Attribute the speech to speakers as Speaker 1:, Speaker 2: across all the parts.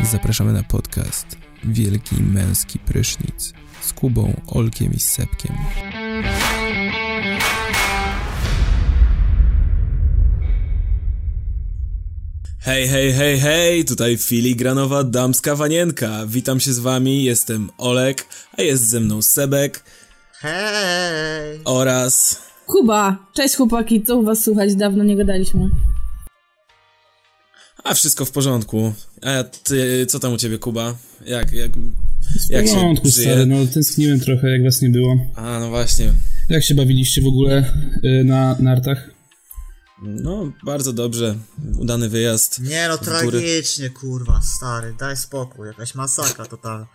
Speaker 1: Zapraszamy na podcast Wielki Męski Prysznic z Kubą, Olkiem i Sepkiem. Hej, hej, hej, hej, tutaj filigranowa damska wanienka. Witam się z wami, jestem Olek, a jest ze mną Sebek
Speaker 2: Hej!
Speaker 1: oraz...
Speaker 3: Kuba! Cześć chłopaki, co u was słychać? Dawno nie gadaliśmy.
Speaker 1: A wszystko w porządku. A ty, co tam u ciebie, Kuba? Jak, jak, jak
Speaker 4: W
Speaker 1: się
Speaker 4: porządku, stary,
Speaker 1: żyje?
Speaker 4: no tęskniłem trochę, jak was nie było.
Speaker 1: A, no właśnie.
Speaker 4: Jak się bawiliście w ogóle y, na nartach?
Speaker 1: No, bardzo dobrze. Udany wyjazd.
Speaker 2: Nie no,
Speaker 1: góry.
Speaker 2: tragicznie, kurwa, stary, daj spokój, jakaś masakra totalna.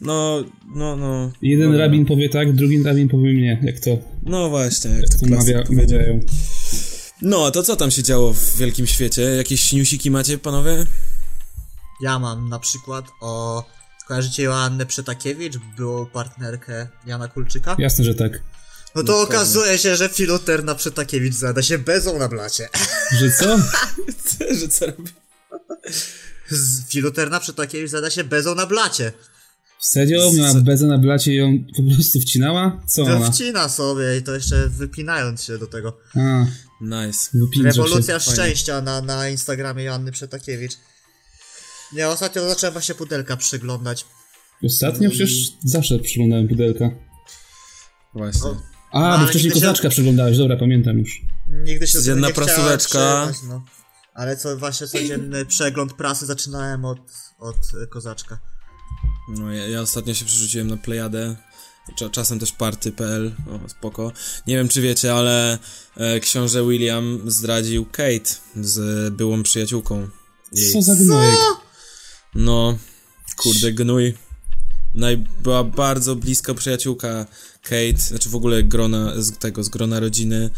Speaker 1: No, no, no.
Speaker 4: Jeden
Speaker 1: no,
Speaker 4: rabin powie tak, drugi rabin powie nie, jak to
Speaker 1: No właśnie, jak to
Speaker 4: mawia,
Speaker 1: klasyk powiedział.
Speaker 4: mawiają.
Speaker 1: No, to co tam się działo w wielkim świecie? Jakieś newsiki macie, panowie?
Speaker 2: Ja mam na przykład o... Kojarzycie Joannę Przetakiewicz, byłą partnerkę Jana Kulczyka?
Speaker 4: Jasne, że tak.
Speaker 2: No to okazuje się, że filoterna Przetakiewicz zada się bezą na blacie.
Speaker 4: Że co?
Speaker 1: Że co robi?
Speaker 2: Z- filoterna Przetakiewicz zada się bezą na blacie.
Speaker 4: Serio? Miała bezę na blacie i ją po prostu wcinała? Co
Speaker 2: To
Speaker 1: No
Speaker 4: ona?
Speaker 2: wcina sobie i to jeszcze wypinając się do tego.
Speaker 4: A,
Speaker 1: Nice.
Speaker 4: wypindrze
Speaker 2: Rewolucja
Speaker 4: się.
Speaker 2: szczęścia na, na Instagramie Joanny Przetakiewicz. Nie, ostatnio zacząłem właśnie pudelka przyglądać.
Speaker 4: Ostatnio przecież zawsze przyglądałem pudelka.
Speaker 1: Właśnie.
Speaker 2: O,
Speaker 4: A,
Speaker 2: ale
Speaker 4: bo wcześniej
Speaker 2: nigdy się-
Speaker 4: kozaczka przeglądałeś, dobra, pamiętam już.
Speaker 2: Nigdy się do tego
Speaker 1: Codzienna
Speaker 2: nie chciałem
Speaker 1: prasóweczka.
Speaker 2: przyznać, no. Ale co właśnie codzienny przegląd prasy zaczynałem od, od y, kozaczka.
Speaker 1: No, ja, ja ostatnio się przerzuciłem na Plejadę. Cza- Czasem też party.pl, o spoko. Nie wiem czy wiecie, ale e, książę William zdradził Kate z byłą przyjaciółką. Jej.
Speaker 4: Co za gnojek.
Speaker 1: No, kurde, gnój. No i była bardzo blisko przyjaciółka Kate, znaczy w ogóle grona, z tego, z grona rodziny.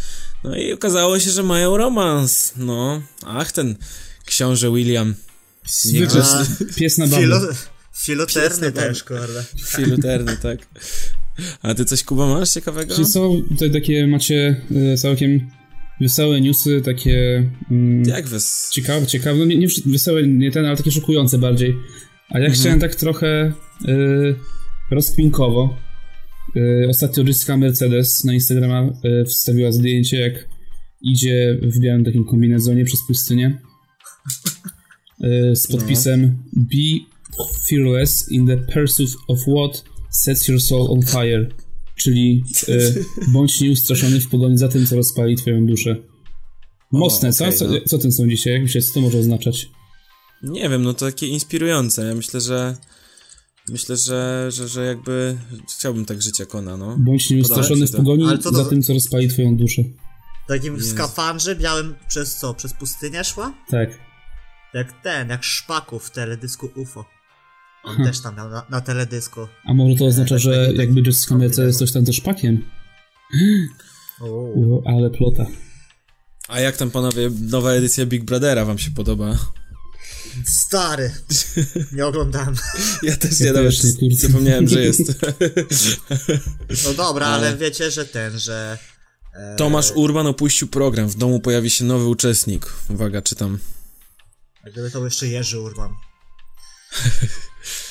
Speaker 1: No i okazało się, że mają romans, no. Ach, ten książę William,
Speaker 4: Zwykły
Speaker 2: A,
Speaker 4: pies na
Speaker 2: Filo,
Speaker 4: bambie.
Speaker 2: filoterny
Speaker 1: Pies na
Speaker 2: też, kurde.
Speaker 1: filuterny, tak. A ty coś, Kuba, masz ciekawego?
Speaker 4: Czyli co, tutaj takie macie y, całkiem wesołe newsy, takie mm,
Speaker 1: Jak wes...
Speaker 4: ciekawe, ciekawe, no nie, nie wszy- wesołe, nie ten, ale takie szokujące bardziej. A ja chciałem tak trochę y, rozkminkowo. Y, ostatnio Ryska Mercedes na Instagrama y, wstawiła zdjęcie, jak idzie w białym takim kombinezonie przez pustynię y, z
Speaker 1: No.
Speaker 4: podpisem Be fearless in the pursuit of what sets your soul on fire. Czyli y, bądź nieustraszony w pogoni za tym, co rozpali twoją duszę. Mocne,
Speaker 1: O,
Speaker 4: co?
Speaker 1: okej,
Speaker 4: co,
Speaker 1: no.
Speaker 4: co tym są dzisiaj? Jak myślisz, co to może oznaczać?
Speaker 1: Nie wiem, no to takie inspirujące. Ja myślę, że... Myślę, że, że, że jakby... Chciałbym tak żyć jak ona, no.
Speaker 4: Bądź
Speaker 1: Podoba
Speaker 4: nieustraszony
Speaker 1: ci
Speaker 4: w
Speaker 1: to?
Speaker 4: pogoni
Speaker 2: Ale co to
Speaker 4: za
Speaker 2: za-
Speaker 4: tym, co rozpali twoją duszę.
Speaker 2: W takim skafandrze białym przez co? Przez pustynię szła?
Speaker 4: Tak.
Speaker 2: Jak ten, jak szpaku w teledysku UFO. On też tam miał na, na teledysku.
Speaker 4: A może to oznacza,
Speaker 2: tak,
Speaker 4: że
Speaker 2: tak,
Speaker 4: jakby
Speaker 2: tak.
Speaker 4: Jessica Mercedes coś tam ze szpakiem?
Speaker 2: Uuu.
Speaker 4: O, ale plota.
Speaker 1: A jak tam, panowie, nowa edycja Big Brothera wam się podoba?
Speaker 2: Stary! Nie oglądałem.
Speaker 1: Ja też
Speaker 4: Ja
Speaker 1: nie nawet
Speaker 4: też nie, kurczę.
Speaker 1: zapomniałem, że jest.
Speaker 2: No dobra, ale wiecie, że ten, że... e,
Speaker 1: Tomasz Urban opuścił program. W domu pojawi się nowy uczestnik. Uwaga, czytam.
Speaker 2: Gdyby to był jeszcze Jerzy Urban.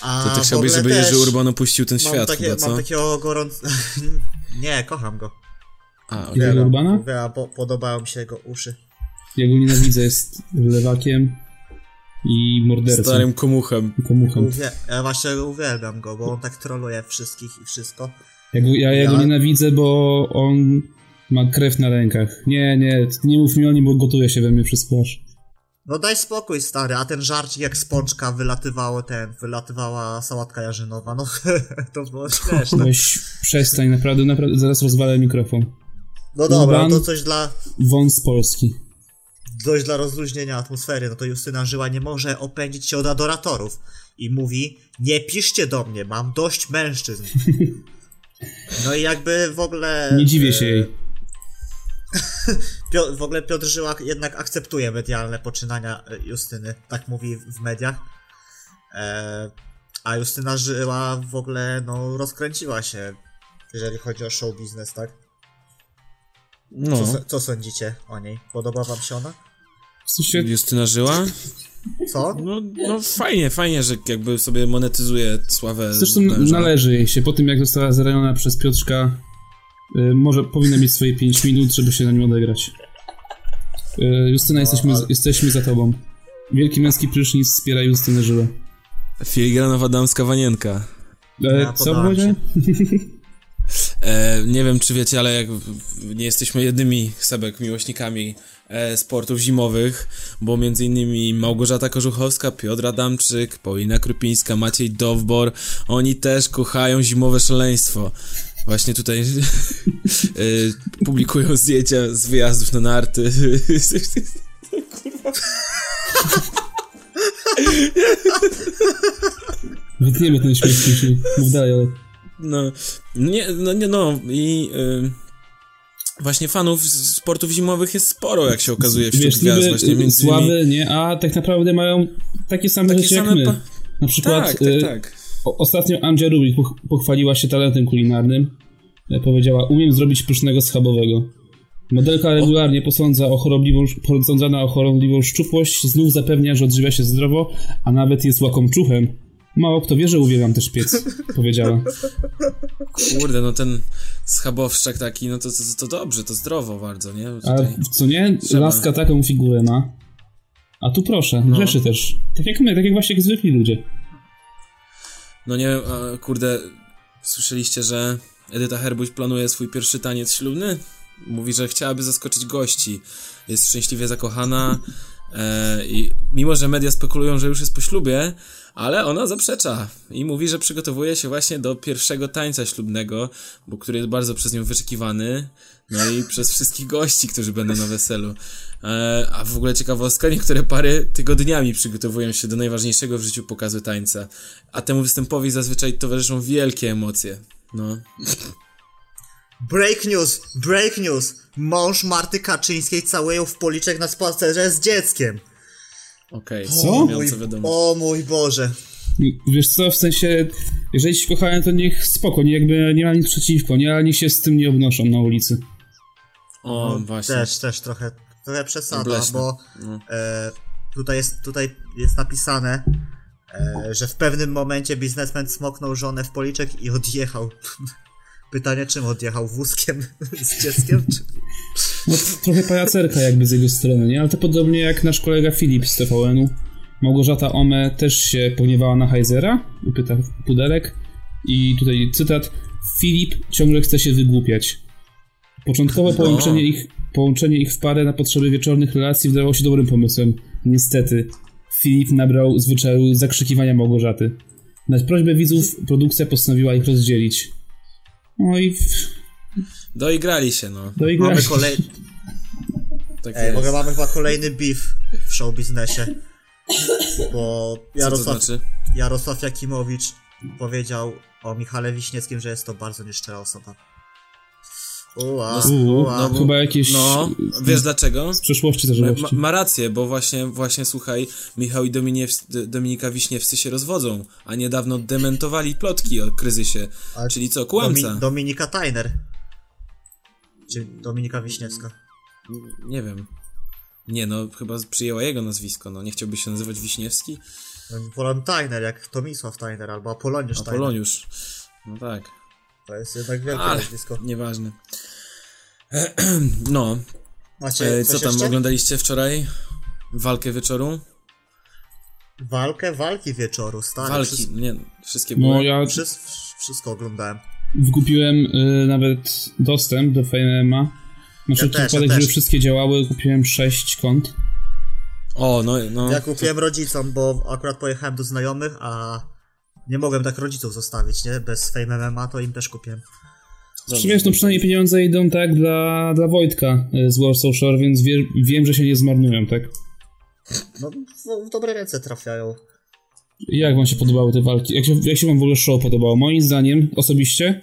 Speaker 2: A
Speaker 1: To ty
Speaker 2: w
Speaker 1: chciałbyś,
Speaker 2: ogóle
Speaker 1: żeby
Speaker 2: też
Speaker 1: Jerzy Urban opuścił ten
Speaker 2: mam
Speaker 1: świat,
Speaker 2: takie,
Speaker 1: chyba, co?
Speaker 2: Mam takiego gorącego... nie, kocham go.
Speaker 1: A, okej.
Speaker 4: Jerzy
Speaker 2: Uwielbiam-
Speaker 4: Urbana?
Speaker 2: uwielbiam, po, podobały mi się jego uszy.
Speaker 4: Ja go nienawidzę, jest lewakiem i mordercą.
Speaker 1: Starym komuchem.
Speaker 4: i Komuchem.
Speaker 2: Uwie... Ja właśnie uwielbiam go, bo on tak troluje wszystkich i wszystko.
Speaker 4: Ja go, ja, ja go
Speaker 2: Ja-
Speaker 4: nienawidzę, bo on ma krew na rękach. Nie, nie, nie mów mi o nim, bo gotuje się we mnie przez płaszcz.
Speaker 2: No daj spokój, stary, a ten żarcik jak z pączka wylatywało ten, wylatywała sałatka jarzynowa, no to było śmieszne.
Speaker 4: Weź, przestań, naprawdę, naprawdę, zaraz rozwalę mikrofon.
Speaker 2: No dobra,
Speaker 4: Urban?
Speaker 2: to coś dla,
Speaker 4: Wąs Polski.
Speaker 2: dość dla rozluźnienia atmosfery, no to Justyna Żyła nie może opędzić się od adoratorów i mówi, nie piszcie do mnie, mam dość mężczyzn. No i jakby w ogóle... e,
Speaker 4: Nie dziwię się jej.
Speaker 2: Pio- w ogóle Piotr Żyłak jednak akceptuje medialne poczynania e, Justyny, tak mówi w w mediach. E, a Justyna Żyła w ogóle no, rozkręciła się, jeżeli chodzi o show biznes, tak?
Speaker 1: No.
Speaker 2: Co, co sądzicie o niej? Podoba wam się ona?
Speaker 4: W sensie,
Speaker 1: Justyna żyła?
Speaker 2: Co?
Speaker 1: No, no fajnie, fajnie, że jakby sobie monetyzuje sławę.
Speaker 4: zresztą
Speaker 1: męża.
Speaker 4: należy jej się. Po tym, jak została zraniona przez Piotrka, y, może powinna mieć swoje 5 minut, żeby się na nią odegrać. Y,
Speaker 1: No,
Speaker 4: Justyna, jesteśmy, jesteśmy za tobą. Wielki męski prysznic wspiera Justynę Żyłę.
Speaker 1: Filigranowa damska wanienka.
Speaker 4: E,
Speaker 2: Ja
Speaker 4: co
Speaker 2: podałem
Speaker 4: powiedziałem?
Speaker 1: E, nie wiem, czy wiecie, ale jak nie jesteśmy jedynymi sebek miłośnikami e, sportów zimowych, bo między innymi Małgorzata Korzuchowska, Piotr Adamczyk, Paulina Krupińska, Maciej Dowbor, oni też kochają zimowe szaleństwo. Właśnie tutaj e, publikują zdjęcia z wyjazdów na narty.
Speaker 4: Wytniemy ten śmiech, jeśli mów dalej, ale...
Speaker 1: No, nie, no, nie, no i y, właśnie fanów z- sportów zimowych jest sporo, jak się okazuje, wśród
Speaker 4: Wiesz,
Speaker 1: gwiazd,
Speaker 4: niby
Speaker 1: właśnie między innymi.
Speaker 4: sławy, nie? A tak naprawdę mają takie same
Speaker 1: Takie
Speaker 4: rzeczy
Speaker 1: same
Speaker 4: jak my.
Speaker 1: pa-
Speaker 4: Na przykład
Speaker 1: Tak,
Speaker 4: y,
Speaker 1: tak, tak.
Speaker 4: o- ostatnio Andrzej Rubik poch- pochwaliła się talentem kulinarnym. E, Powiedziała, umiem zrobić pysznego schabowego. Modelka regularnie posądza o chorobliwą, posądzana o chorobliwą szczupłość, znów zapewnia, że odżywia się zdrowo, a nawet jest łakomczuchem. Mało kto wie, że uwielbiam też piec, powiedziała.
Speaker 1: Kurde, no ten schabowszczak taki, no to, to, to dobrze, to zdrowo bardzo, nie?
Speaker 4: A
Speaker 1: Tutaj.
Speaker 4: co nie?
Speaker 1: Trzeba.
Speaker 4: Laska taką figurę ma. A tu proszę, grzeszy też. Tak jak my, tak jak właśnie jak zwykli ludzie.
Speaker 1: No nie wiem, a, kurde, słyszeliście, że Edyta Herbuś planuje swój pierwszy taniec ślubny? Mówi, że chciałaby zaskoczyć gości. Jest szczęśliwie zakochana e, i mimo, że media spekulują, że już jest po ślubie, ale ona zaprzecza i mówi, że przygotowuje się właśnie do pierwszego tańca ślubnego, bo który jest bardzo przez nią wyczekiwany, no i przez wszystkich gości, którzy będą na weselu. E, a w ogóle ciekawostka, niektóre pary tygodniami przygotowują się do najważniejszego w życiu pokazu tańca, a temu występowi zazwyczaj towarzyszą wielkie emocje. No.
Speaker 2: Break news! Break news! Mąż Marty Kaczyńskiej całuje ją w policzek na spacerze z dzieckiem.
Speaker 1: Okej,
Speaker 4: Co?
Speaker 1: okay, miał co wiadomo.
Speaker 2: o mój Boże.
Speaker 4: Wiesz co, w sensie, jeżeli się kochają, to niech spoko, nie, jakby nie ma nic przeciwko, nie, ale niech się z tym nie obnoszą na ulicy.
Speaker 1: O, właśnie.
Speaker 2: No, Też, też trochę, trochę przesada,
Speaker 1: Obleśne.
Speaker 2: bo
Speaker 1: No.
Speaker 2: e, tutaj, jest, tutaj jest napisane, e, że w pewnym momencie biznesmen smoknął żonę w policzek i odjechał. Pytanie, czym odjechał? Wózkiem z dzieckiem? Czy...
Speaker 4: No, t- trochę pajacerka jakby z jego strony, nie? Ale to podobnie jak nasz kolega Filip z TVN-u. Małgorzata Ome też się pogniewała na Heizera, pyta Pudelek. I tutaj cytat. Filip ciągle chce się wygłupiać. Początkowe
Speaker 1: No.
Speaker 4: połączenie ich, połączenie ich w parę na potrzeby wieczornych relacji wydawało się dobrym pomysłem. Niestety, Filip nabrał zwyczaju zakrzykiwania Małgorzaty. Na prośbę widzów produkcja postanowiła ich rozdzielić. No i
Speaker 1: Doigrali się, no.
Speaker 4: do ich
Speaker 2: Mamy, kolej...
Speaker 1: Tak
Speaker 2: Ej, w ogóle
Speaker 1: jest.
Speaker 2: mamy chyba kolejny beef w show biznesie. Bo
Speaker 1: Co to
Speaker 2: Jarosław,
Speaker 1: znaczy?
Speaker 2: Jarosław Jakimowicz powiedział o Michale Wiśnieckim, że jest to bardzo nieszczera osoba. Ua,
Speaker 4: Uuu,
Speaker 2: ua.
Speaker 4: no, chyba jakieś
Speaker 1: No, wiesz dlaczego?
Speaker 4: z przeszłości zażyłości.
Speaker 1: Ma, ma rację, bo właśnie, właśnie słuchaj, Michał i Dominiew, D- Dominika Wiśniewscy się rozwodzą, a niedawno dementowali plotki o kryzysie.
Speaker 2: Ale
Speaker 1: Czyli co, kłamca?
Speaker 2: Tak. Domi- Dominika Tajner. Czy Dominika Wiśniewska.
Speaker 1: Nie wiem. Nie no, chyba przyjęła jego nazwisko, no nie chciałby się nazywać Wiśniewski?
Speaker 2: No, Wolałem Tajner, jak Tomisław Tajner albo Apoloniusz Tajner.
Speaker 1: Apoloniusz. No tak,
Speaker 2: To jest jednak wielkie
Speaker 1: Ale-
Speaker 2: nazwisko.
Speaker 1: nieważne. No,
Speaker 2: Macie
Speaker 1: e,
Speaker 2: coś
Speaker 1: co tam
Speaker 2: jeszcze?
Speaker 1: oglądaliście wczoraj? Walkę wieczoru?
Speaker 2: Walkę, walki wieczoru, stary.
Speaker 1: Walki,
Speaker 2: Wszystko,
Speaker 1: nie, wszystkie były.
Speaker 4: No ja
Speaker 2: wszystko, wszystko oglądałem.
Speaker 4: wykupiłem y, nawet dostęp do FameMA. Na wszelki
Speaker 2: też, ja
Speaker 4: wypadek,
Speaker 2: też.
Speaker 4: żeby wszystkie działały, kupiłem 6 kont.
Speaker 1: O, no, no.
Speaker 2: Ja kupiłem rodzicom, bo akurat pojechałem do znajomych, a nie mogłem tak rodziców zostawić, nie? Bez Fame MMA to im też kupiłem.
Speaker 1: dobrze.
Speaker 4: Czy wiesz, no przynajmniej pieniądze idą tak dla, dla Wojtka y, z Warsaw Shore, więc wie, wiem, że się nie zmarnują, tak?
Speaker 2: No, w, w dobre ręce trafiają.
Speaker 4: Jak wam się podobały te walki? Jak się, jak się wam w ogóle show podobało? Moim zdaniem, osobiście,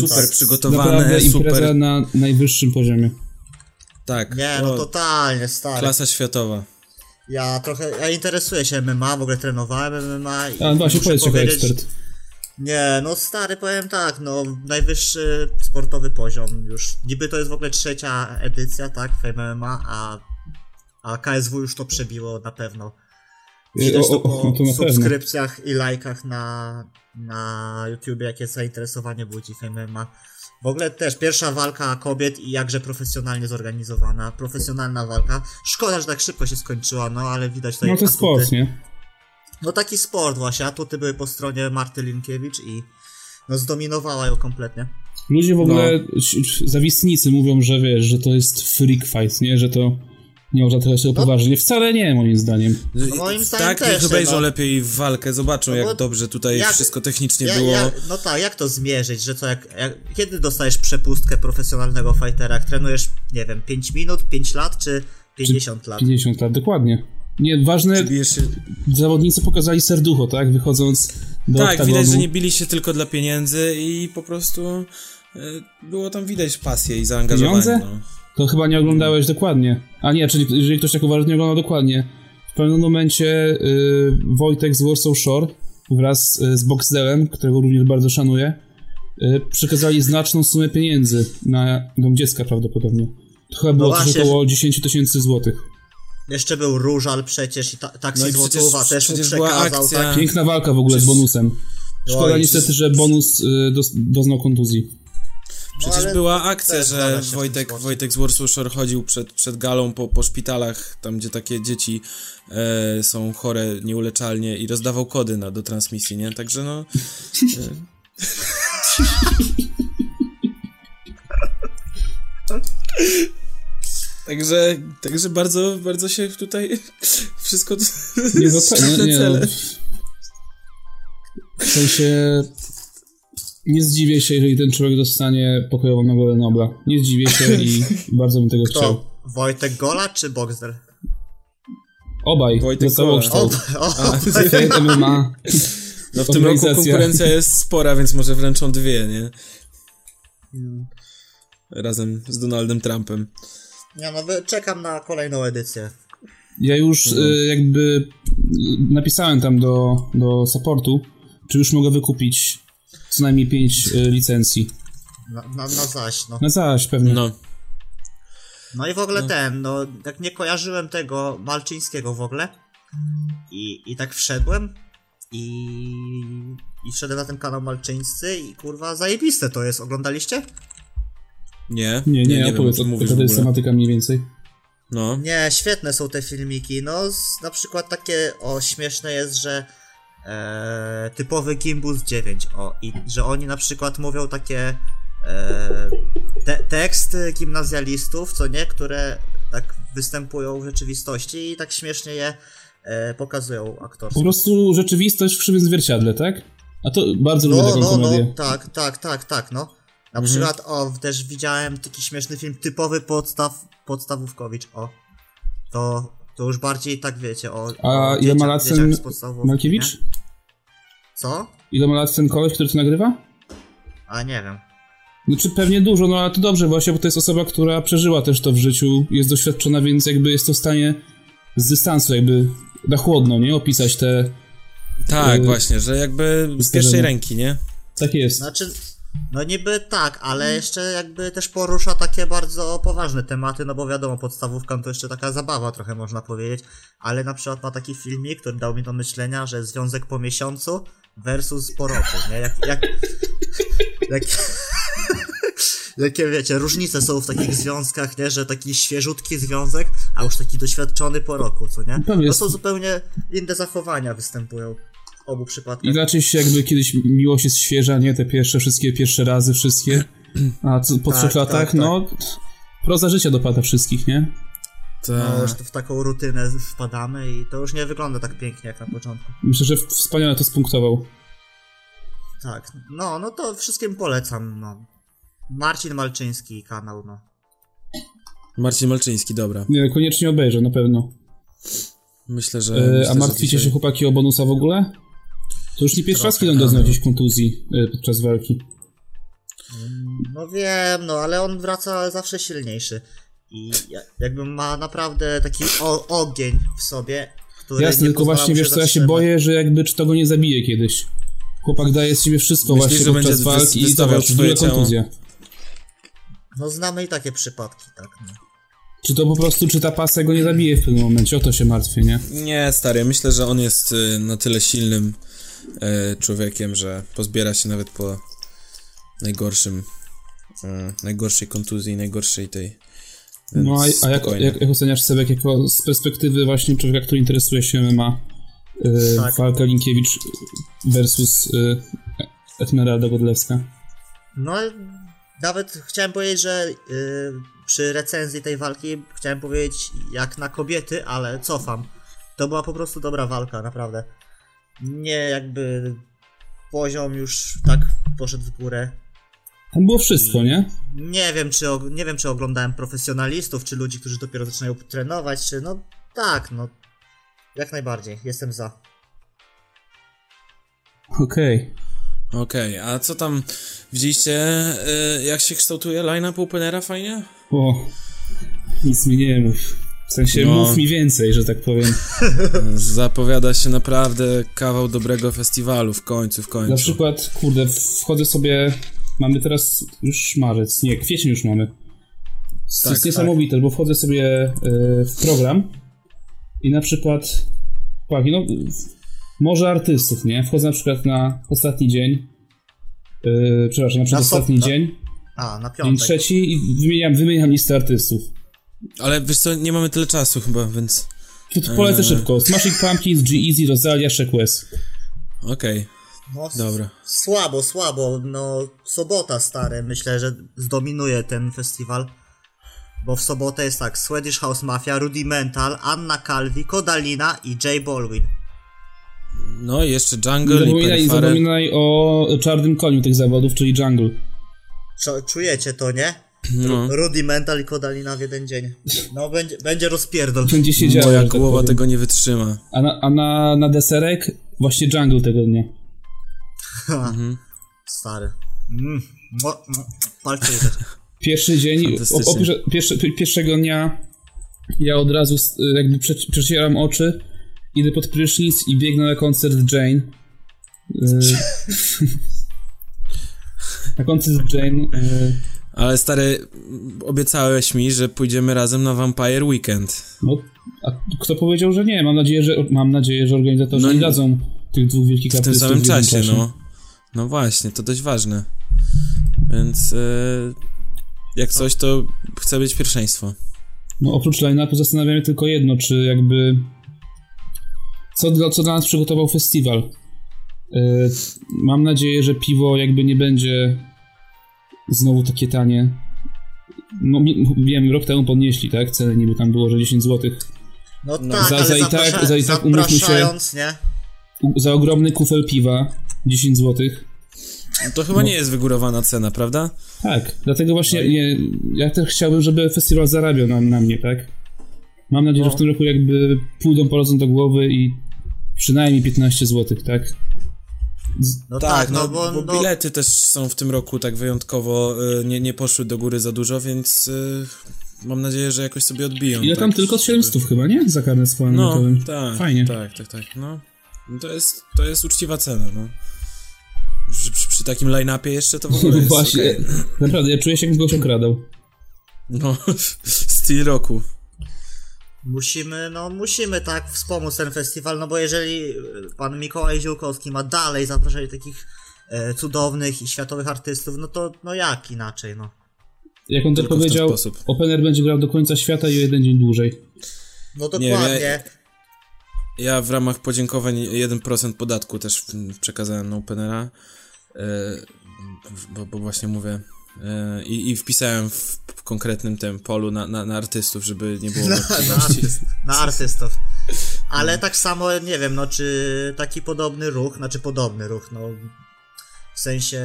Speaker 1: Super
Speaker 4: naprawdę
Speaker 1: przygotowane,
Speaker 4: impreza
Speaker 1: super.
Speaker 4: na najwyższym poziomie.
Speaker 1: Tak.
Speaker 2: Nie,
Speaker 1: o,
Speaker 2: no totalnie, stary.
Speaker 1: Klasa światowa.
Speaker 2: Ja trochę, ja interesuję się MMA, w ogóle trenowałem MMA i
Speaker 4: A właśnie,
Speaker 2: muszę
Speaker 4: powiedz jako
Speaker 2: powiedzieć,
Speaker 4: ekspert.
Speaker 2: Nie, no stary, powiem tak, no najwyższy sportowy poziom już. Niby to jest w ogóle trzecia edycja, tak, Fame MMA, a, a KSW już to przebiło na pewno. Widać
Speaker 4: E, O,
Speaker 2: to
Speaker 4: o, o,
Speaker 2: po
Speaker 4: to na pewno.
Speaker 2: subskrypcjach i lajkach na, na YouTube, jakie zainteresowanie budzi Fame MMA. W ogóle też pierwsza walka kobiet i jakże profesjonalnie zorganizowana, profesjonalna walka. Szkoda, że tak szybko się skończyła, no ale widać tutaj
Speaker 4: No to
Speaker 2: atuty.
Speaker 4: sport, nie?
Speaker 2: No taki sport właśnie, atuty były po stronie Marty Linkiewicz i no zdominowała ją kompletnie.
Speaker 4: Ludzie w ogóle, no. zawistnicy mówią, że wiesz, że to jest freak fight, nie? Że to nie można traktować tego
Speaker 2: No.
Speaker 4: poważnie. Wcale nie, moim zdaniem.
Speaker 2: No moim zdaniem
Speaker 1: tak,
Speaker 2: też,
Speaker 1: niech obejrzą
Speaker 2: no.
Speaker 1: lepiej walkę, zobaczą
Speaker 2: No bo
Speaker 1: jak dobrze tutaj
Speaker 2: jak-
Speaker 1: wszystko technicznie
Speaker 2: Ja-
Speaker 1: było.
Speaker 2: ja- no tak, jak to zmierzyć, że co, jak, jak, kiedy dostajesz przepustkę profesjonalnego fightera? Jak trenujesz, nie wiem, 5 minut, 5 lat czy 50 lat?
Speaker 4: 50 lat, dokładnie. Nie, ważne,
Speaker 1: Bijesz się...
Speaker 4: zawodnicy pokazali serducho, tak? Wychodząc do
Speaker 1: Tak,
Speaker 4: oktagonu.
Speaker 1: widać, że nie bili się tylko dla pieniędzy i po prostu e, było tam widać pasję i zaangażowanie.
Speaker 4: Pieniądze?
Speaker 1: No.
Speaker 4: To chyba nie oglądałeś dokładnie. A nie, czyli jeżeli ktoś tak uważa, to nie oglądał dokładnie. W pewnym momencie y, Wojtek z Warsaw Shore wraz y, z Boxdelem, którego również bardzo szanuję, y, przekazali znaczną sumę pieniędzy na dom dziecka prawdopodobnie. To chyba było coś
Speaker 2: No właśnie,
Speaker 4: około 10 tysięcy złotych.
Speaker 2: Jeszcze był Różal przecież i ta, Taksi
Speaker 1: No i przecież-
Speaker 2: Złotowa też mu
Speaker 1: przecież była
Speaker 2: przekazał.
Speaker 1: akcja.
Speaker 2: Tak,
Speaker 4: Piękna walka w ogóle z
Speaker 1: Przecież-
Speaker 4: bonusem. Szkoda
Speaker 2: Oj,
Speaker 4: niestety,
Speaker 1: przecież-
Speaker 4: że bonus y, dos- doznał kontuzji.
Speaker 1: Przecież
Speaker 2: No ale
Speaker 1: była akcja,
Speaker 2: też
Speaker 1: że
Speaker 2: znalazł się w tym
Speaker 1: Wojtek,
Speaker 2: sporcie.
Speaker 1: Wojtek z Warsaw Shore chodził przed, przed galą po, po szpitalach, tam gdzie takie dzieci e, są chore nieuleczalnie i rozdawał kody na, do transmisji, nie? Także no... E... Także, także bardzo, bardzo się tutaj wszystko
Speaker 4: Nie
Speaker 1: na
Speaker 4: doceniam. Nie,
Speaker 1: cele.
Speaker 4: no. W sensie. Nie zdziwię się, jeżeli ten człowiek dostanie pokojową Nagrodę Nobla. Nie zdziwię się i bardzo bym tego chciał.
Speaker 2: Kto? Wojtek Gola czy Boxer?
Speaker 4: Obaj.
Speaker 1: Wojtek
Speaker 4: Dostało
Speaker 1: Kolar.
Speaker 4: kształt.
Speaker 2: O,
Speaker 4: Fate MMA.
Speaker 1: No w tym roku
Speaker 4: Organizacja.
Speaker 1: konkurencja jest spora, więc może wręczą dwie, nie? Razem z Donaldem Trumpem.
Speaker 2: nie no, wy- czekam na kolejną edycję.
Speaker 4: Ja już y, jakby napisałem tam do, do supportu, czy już mogę wykupić co najmniej 5 y, licencji.
Speaker 2: Na, na, na zaś, no.
Speaker 4: No zaś pewnie.
Speaker 1: No.
Speaker 2: No i w ogóle ten, no, tak nie kojarzyłem tego Malczyńskiego w ogóle. I, i tak wszedłem i, i wszedłem na ten kanał Malczyńscy i kurwa zajebiste to jest, oglądaliście?
Speaker 1: Nie,
Speaker 4: Nie, nie,
Speaker 1: nie,
Speaker 4: ja
Speaker 1: wiem, o
Speaker 4: powiem,
Speaker 1: czym
Speaker 4: to,
Speaker 1: mówisz
Speaker 4: to
Speaker 1: w
Speaker 4: jest
Speaker 1: ogóle.
Speaker 4: tematyka mniej więcej.
Speaker 1: No.
Speaker 2: Nie, świetne są te filmiki, no z, na przykład takie, o śmieszne jest, że e, typowy Gimbus 9, o i że oni na przykład mówią takie e, te, teksty gimnazjalistów, co nie, które tak występują w rzeczywistości i tak śmiesznie je e, pokazują aktorstwo.
Speaker 4: Po prostu rzeczywistość w krzywym zwierciadle, tak? A to bardzo lubię taką komedię. Mhm.
Speaker 2: No, tak, tak, tak, tak, no. Na przykład, o, też widziałem taki śmieszny film, typowy podstaw, podstawówkowicz, o. To, to już bardziej tak wiecie, o.
Speaker 4: A
Speaker 2: o
Speaker 4: ile ma
Speaker 2: dzieciak-
Speaker 4: lat
Speaker 2: dzieciak
Speaker 4: ten
Speaker 2: z podstawówki,
Speaker 4: Malkiewicz?
Speaker 2: nie? Co?
Speaker 4: Ile ma lat ten koleś, który to nagrywa?
Speaker 2: A nie wiem.
Speaker 4: Znaczy pewnie dużo, no ale to dobrze właśnie, bo to jest osoba, która przeżyła też to w życiu, jest doświadczona, więc jakby jest to w stanie z dystansu jakby na chłodno, nie? Opisać te...
Speaker 1: Tak,
Speaker 4: Yy,
Speaker 1: właśnie, że jakby z
Speaker 4: zdarzenie.
Speaker 1: pierwszej ręki, nie?
Speaker 4: Tak jest.
Speaker 2: Znaczy, no niby tak, ale jeszcze jakby też porusza takie bardzo poważne tematy, no bo wiadomo, podstawówka to jeszcze taka zabawa trochę można powiedzieć, ale na przykład ma taki filmik, który dał mi do myślenia, że związek po miesiącu versus po roku, nie? Jak, jak, jak, jakie wiecie, różnice są w takich związkach, nie? Że taki świeżutki związek, a już taki doświadczony po roku, co nie?
Speaker 4: Pewnie
Speaker 2: To
Speaker 4: No jest-
Speaker 2: są zupełnie inne zachowania występują w obu przypadkach.
Speaker 4: Inaczej się jakby kiedyś miłość jest świeża, nie? Te pierwsze, wszystkie pierwsze razy, wszystkie. A co, po
Speaker 2: Tak,
Speaker 4: trzech
Speaker 2: tak,
Speaker 4: latach,
Speaker 2: tak.
Speaker 4: no... Proza życia dopada wszystkich, nie?
Speaker 1: Ta...
Speaker 2: No, już w taką rutynę wpadamy i to już nie wygląda tak pięknie jak na początku.
Speaker 4: Myślę, że wspaniale to spunktował.
Speaker 2: Tak, no, no to wszystkim polecam, no. Marcin Malczyński kanał, no.
Speaker 1: Marcin Malczyński, dobra.
Speaker 4: Nie, koniecznie obejrzę, na pewno.
Speaker 1: Myślę, że.
Speaker 4: E,
Speaker 1: myślę,
Speaker 4: a
Speaker 1: że
Speaker 4: martwicie
Speaker 1: dzisiaj-
Speaker 4: się chłopaki o bonusa w ogóle? To już nie pierwszy raz,
Speaker 1: Trochę,
Speaker 4: kiedy on doznał
Speaker 1: ale-
Speaker 4: jakiejś kontuzji e, podczas walki.
Speaker 2: No wiem, no, ale on wraca zawsze silniejszy. I ja- jakby ma naprawdę taki o- ogień w sobie, który
Speaker 4: Jasne,
Speaker 2: nie
Speaker 4: tylko
Speaker 2: pozwala
Speaker 4: właśnie
Speaker 2: mu się
Speaker 4: wiesz co, ja się
Speaker 2: zatrzymać.
Speaker 4: boję, że jakby czy to go nie zabije kiedyś. Chłopak daje z siebie wszystko
Speaker 1: Myślisz, że
Speaker 4: właśnie podczas
Speaker 1: będzie wys-
Speaker 4: walki i
Speaker 1: wystawiał
Speaker 4: zobacz,
Speaker 1: swoje
Speaker 4: duże
Speaker 1: ciało?
Speaker 4: kontuzje.
Speaker 2: No znamy i takie przypadki, tak. No.
Speaker 4: Czy to po prostu, czy ta pasa go nie zabije w pewnym momencie? O to się martwię, nie?
Speaker 1: Nie, stary, myślę, że on jest y, na tyle silnym y, człowiekiem, że pozbiera się nawet po najgorszym, y, najgorszej kontuzji, najgorszej tej. Więc
Speaker 4: No a, a jak,
Speaker 1: spokojnie.
Speaker 4: jak, jak oceniasz Sebek jako z perspektywy właśnie człowieka, który interesuje się MMA? Yy,
Speaker 2: Tak.
Speaker 4: Walka Linkiewicz versus yy, Esmeralda Godlewska.
Speaker 2: no nawet chciałem powiedzieć, że y, przy recenzji tej walki chciałem powiedzieć jak na kobiety, ale cofam. To była po prostu dobra walka, naprawdę. Nie jakby poziom już tak poszedł w górę.
Speaker 4: Tam było wszystko, nie?
Speaker 2: Nie wiem, czy, og- nie wiem, czy oglądałem profesjonalistów, czy ludzi, którzy dopiero zaczynają trenować, czy no tak, no jak najbardziej, jestem za.
Speaker 4: Okej.
Speaker 1: Okej, a co tam widzieliście, y, jak się kształtuje line-up openera fajnie?
Speaker 4: O, nic mi nie mów. W sensie
Speaker 1: No.
Speaker 4: mów mi więcej, że tak powiem.
Speaker 1: Zapowiada się naprawdę kawał dobrego festiwalu w końcu, w
Speaker 4: Na
Speaker 1: końcu.
Speaker 4: przykład, kurde, wchodzę sobie. Mamy teraz już marzec, nie, kwiecień już mamy. To
Speaker 1: Tak,
Speaker 4: jest niesamowite, bo wchodzę sobie y, w program i na przykład. Płaki, no, w- może artystów, nie? Wchodzę na przykład na ostatni dzień. y, przepraszam, na
Speaker 2: Na so-
Speaker 4: przedostatni
Speaker 2: na-
Speaker 4: dzień,
Speaker 2: A, na
Speaker 4: dzień
Speaker 2: piątek.
Speaker 4: trzeci i wymieniam, wymieniam listę artystów.
Speaker 1: Ale wiesz co, nie mamy tyle czasu chyba, więc
Speaker 4: Tu tu polecę
Speaker 1: Eee.
Speaker 4: szybko. Smashing Pumpkins, G-Eazy, Rosalia, Shaq West.
Speaker 1: okej,
Speaker 2: No, s-
Speaker 1: dobra.
Speaker 2: Słabo, słabo, no sobota stary, myślę, że zdominuje ten festiwal. Bo w sobotę jest tak, Swedish House Mafia, Rudimental, Anna Calvi, Kodalina i J Baldwin.
Speaker 1: No i jeszcze
Speaker 4: Nie
Speaker 1: Jungle i
Speaker 4: zapominaj, nie
Speaker 1: Perifarel.
Speaker 4: zapominaj o czarnym koniu tych zawodów, czyli Jungle.
Speaker 2: Czo- czujecie to, nie?
Speaker 1: No.
Speaker 2: Rudimental i Kodalina w jeden dzień. No, będzie, będzie rozpierdol.
Speaker 4: Będzie się działo.
Speaker 1: Moja
Speaker 4: że tak
Speaker 1: głowa
Speaker 4: powiem.
Speaker 1: tego nie wytrzyma.
Speaker 4: A na, a na, na deserek właśnie jungle tego dnia.
Speaker 2: Stary. Mm. Mo- mo- Palce jeżdżą.
Speaker 4: Pierwszy dzień,
Speaker 1: Fantastycznie.
Speaker 4: o, o, pierwsze- pierwsze, pi- pierwszego dnia ja od razu s- jakby prze, przecieram oczy, idę pod prysznic i biegnę na koncert Jane. Y, na koncert Jane. y,
Speaker 1: Ale stary, obiecałeś mi, że pójdziemy razem na Vampire Weekend.
Speaker 4: no, a kto powiedział, że nie? Mam nadzieję, że, mam nadzieję, że organizatorzy
Speaker 1: No
Speaker 4: nie
Speaker 1: nie-
Speaker 4: dadzą tych dwóch wielkich
Speaker 1: W tym
Speaker 4: artystów
Speaker 1: samym
Speaker 4: jednym
Speaker 1: czasie, no. No właśnie, to dość ważne. Więc e, jak coś, to chcę mieć pierwszeństwo.
Speaker 4: No oprócz line-upu zastanawiam się tylko jedno, czy jakby... Co dla, co dla nas przygotował festiwal? Yy, mam nadzieję, że piwo jakby nie będzie znowu takie tanie. No mi- wiem, rok temu podnieśli, tak? Ceny niby tam było, że 10 zł.
Speaker 2: No,
Speaker 1: No,
Speaker 2: tak,
Speaker 4: za-
Speaker 2: ale
Speaker 4: za i tak-
Speaker 2: zaprasza-
Speaker 4: za i tak umówmy się-
Speaker 2: zapraszając, nie?
Speaker 4: Za ogromny kufel piwa 10 zł.
Speaker 1: No To chyba nie jest wygórowana cena, prawda?
Speaker 4: Tak, dlatego właśnie nie, ja też chciałbym, żeby festiwal zarabiał na, na mnie, tak? Mam nadzieję, że w tym roku jakby pójdą porozum do głowy i przynajmniej 15 zł, tak?
Speaker 2: No tak, no, bo, no,
Speaker 1: bilety też są w tym roku tak wyjątkowo, e, nie, nie poszły do góry za dużo, więc e, mam nadzieję, że jakoś sobie odbiją.
Speaker 4: Ile
Speaker 1: tak,
Speaker 4: tam tylko z 700 chyba, nie? Za karnet z panem
Speaker 1: No,
Speaker 4: Jakowym.
Speaker 1: tak.
Speaker 4: Fajnie.
Speaker 1: Tak, tak, tak. No. No To, jest, to jest uczciwa cena, no. Przy, przy, przy takim line-upie jeszcze to w ogóle jest
Speaker 4: Właśnie,
Speaker 1: okej.
Speaker 4: naprawdę, ja czuję się jakbym kogoś okradał.
Speaker 1: No, styl roku.
Speaker 2: musimy, no musimy tak wspomóc ten festiwal, no bo jeżeli e, pan Mikołaj Ziółkowski ma dalej zapraszać takich e, cudownych i światowych artystów, no to no jak inaczej, no.
Speaker 4: Jak on to
Speaker 1: Tylko w ten
Speaker 4: powiedział,
Speaker 1: sposób.
Speaker 4: Opener będzie grał do końca świata i o jeden dzień dłużej.
Speaker 2: No
Speaker 1: Nie, ja-
Speaker 2: dokładnie.
Speaker 1: Ja w ramach podziękowań 1% podatku też mm, przekazałem na Openera, e, bo, bo właśnie mówię, e, i, i wpisałem w konkretnym tym polu na, na, na artystów, żeby nie było...
Speaker 2: na, artyst, na artystów.
Speaker 1: No.
Speaker 2: Ale tak samo, nie wiem, no czy taki podobny ruch, znaczy podobny ruch, no w sensie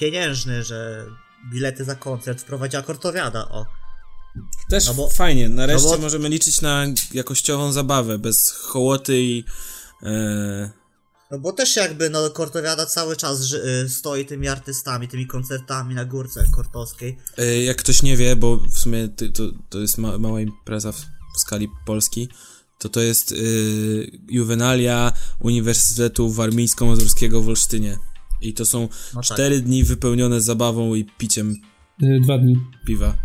Speaker 2: pieniężny, że bilety za koncert wprowadziła Kortowiada, o.
Speaker 1: Też
Speaker 2: No bo-
Speaker 1: fajnie, nareszcie
Speaker 2: no bo-
Speaker 1: możemy liczyć na jakościową zabawę, bez hołoty i... E,
Speaker 2: No bo też jakby, no Kortowiada cały czas ży, y, stoi tymi artystami, tymi koncertami na górce kortowskiej.
Speaker 1: E, Jak ktoś nie wie, bo w sumie ty, to, to jest ma, mała impreza w, w skali Polski, to to jest y, juwenalia Uniwersytetu Warmińsko-Mazurskiego w Olsztynie. I to są
Speaker 2: No tak.
Speaker 1: cztery dni wypełnione zabawą i piciem
Speaker 4: Y, Dwa dni.
Speaker 1: piwa.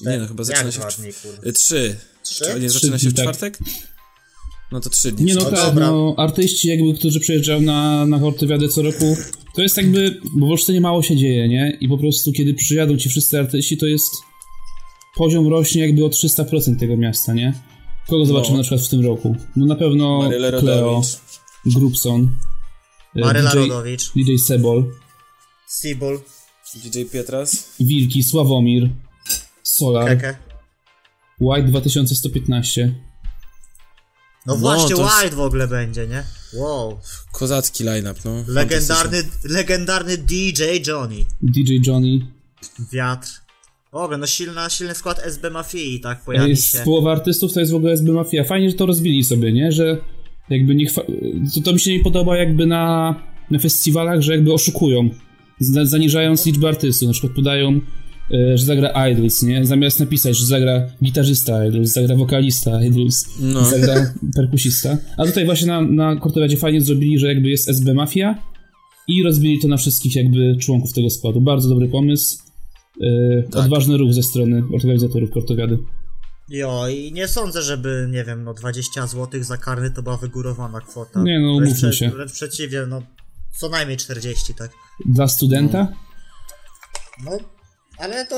Speaker 2: Cztery-
Speaker 1: Nie no, chyba
Speaker 2: Jak
Speaker 1: zaczyna się
Speaker 2: dwa
Speaker 1: w...
Speaker 2: dni, kurwa?
Speaker 1: y, Trzy.
Speaker 2: Trzy?
Speaker 1: Czy- Nie, zaczyna się w
Speaker 4: dni, tak.
Speaker 1: czwartek? No to trzy dni.
Speaker 4: Nie no,
Speaker 2: No
Speaker 4: tak,
Speaker 2: dobra.
Speaker 4: no artyści jakby, którzy przyjeżdżają na, na Hortywiadę co roku, to jest jakby, bo w Olsztynie mało się dzieje, nie? I po prostu kiedy przyjadą ci wszyscy artyści, to jest poziom rośnie jakby o 300% tego miasta, nie? Kogo zobaczymy na przykład w tym roku? No na pewno
Speaker 1: Maryle
Speaker 4: Cleo,
Speaker 1: Rodowicz.
Speaker 4: Grubson,
Speaker 1: y,
Speaker 4: e,
Speaker 2: Maryla
Speaker 4: DJ,
Speaker 2: Rodowicz,
Speaker 4: DJ Sebol,
Speaker 2: Sibul,
Speaker 1: DJ Pietras.
Speaker 4: Wilki, Sławomir, Solar,
Speaker 2: Keke.
Speaker 4: White 2115.
Speaker 2: No
Speaker 1: No,
Speaker 2: właśnie,
Speaker 1: to jest-
Speaker 2: Wild w ogóle będzie, nie? Wow.
Speaker 1: Kozacki line-up, no.
Speaker 2: Legendarny, legendarny DJ Johnny.
Speaker 4: DJ Johnny.
Speaker 2: Wiatr. W ogóle, no silna, silny skład SB Mafii tak pojawi
Speaker 4: Jest
Speaker 2: się.
Speaker 4: połowa artystów to jest w ogóle SB Mafia. Fajnie, że to rozbili sobie, nie? Że jakby nie chwa... to, to mi się nie podoba jakby na, na festiwalach, że jakby oszukują, zna- zaniżając liczbę artystów. Na przykład podają, e, że zagra Idols, nie? Zamiast napisać, że zagra gitarzysta Idols, zagra wokalista Idols,
Speaker 1: No.
Speaker 4: zagra perkusista. A tutaj właśnie na, na Kortowiadzie fajnie zrobili, że jakby jest SB Mafia i rozbili to na wszystkich jakby członków tego składu. Bardzo dobry pomysł. E,
Speaker 1: Tak.
Speaker 4: Odważny ruch ze strony organizatorów Kortowiady.
Speaker 2: Jo, i nie sądzę, żeby, nie wiem, no 20 zł za karny to była wygórowana kwota.
Speaker 4: Nie, no,
Speaker 2: Wręcz
Speaker 4: umówmy
Speaker 2: prze-
Speaker 4: się.
Speaker 2: Wręcz przeciwnie, no co najmniej 40, tak.
Speaker 4: Dla studenta?
Speaker 2: Mm. No, ale to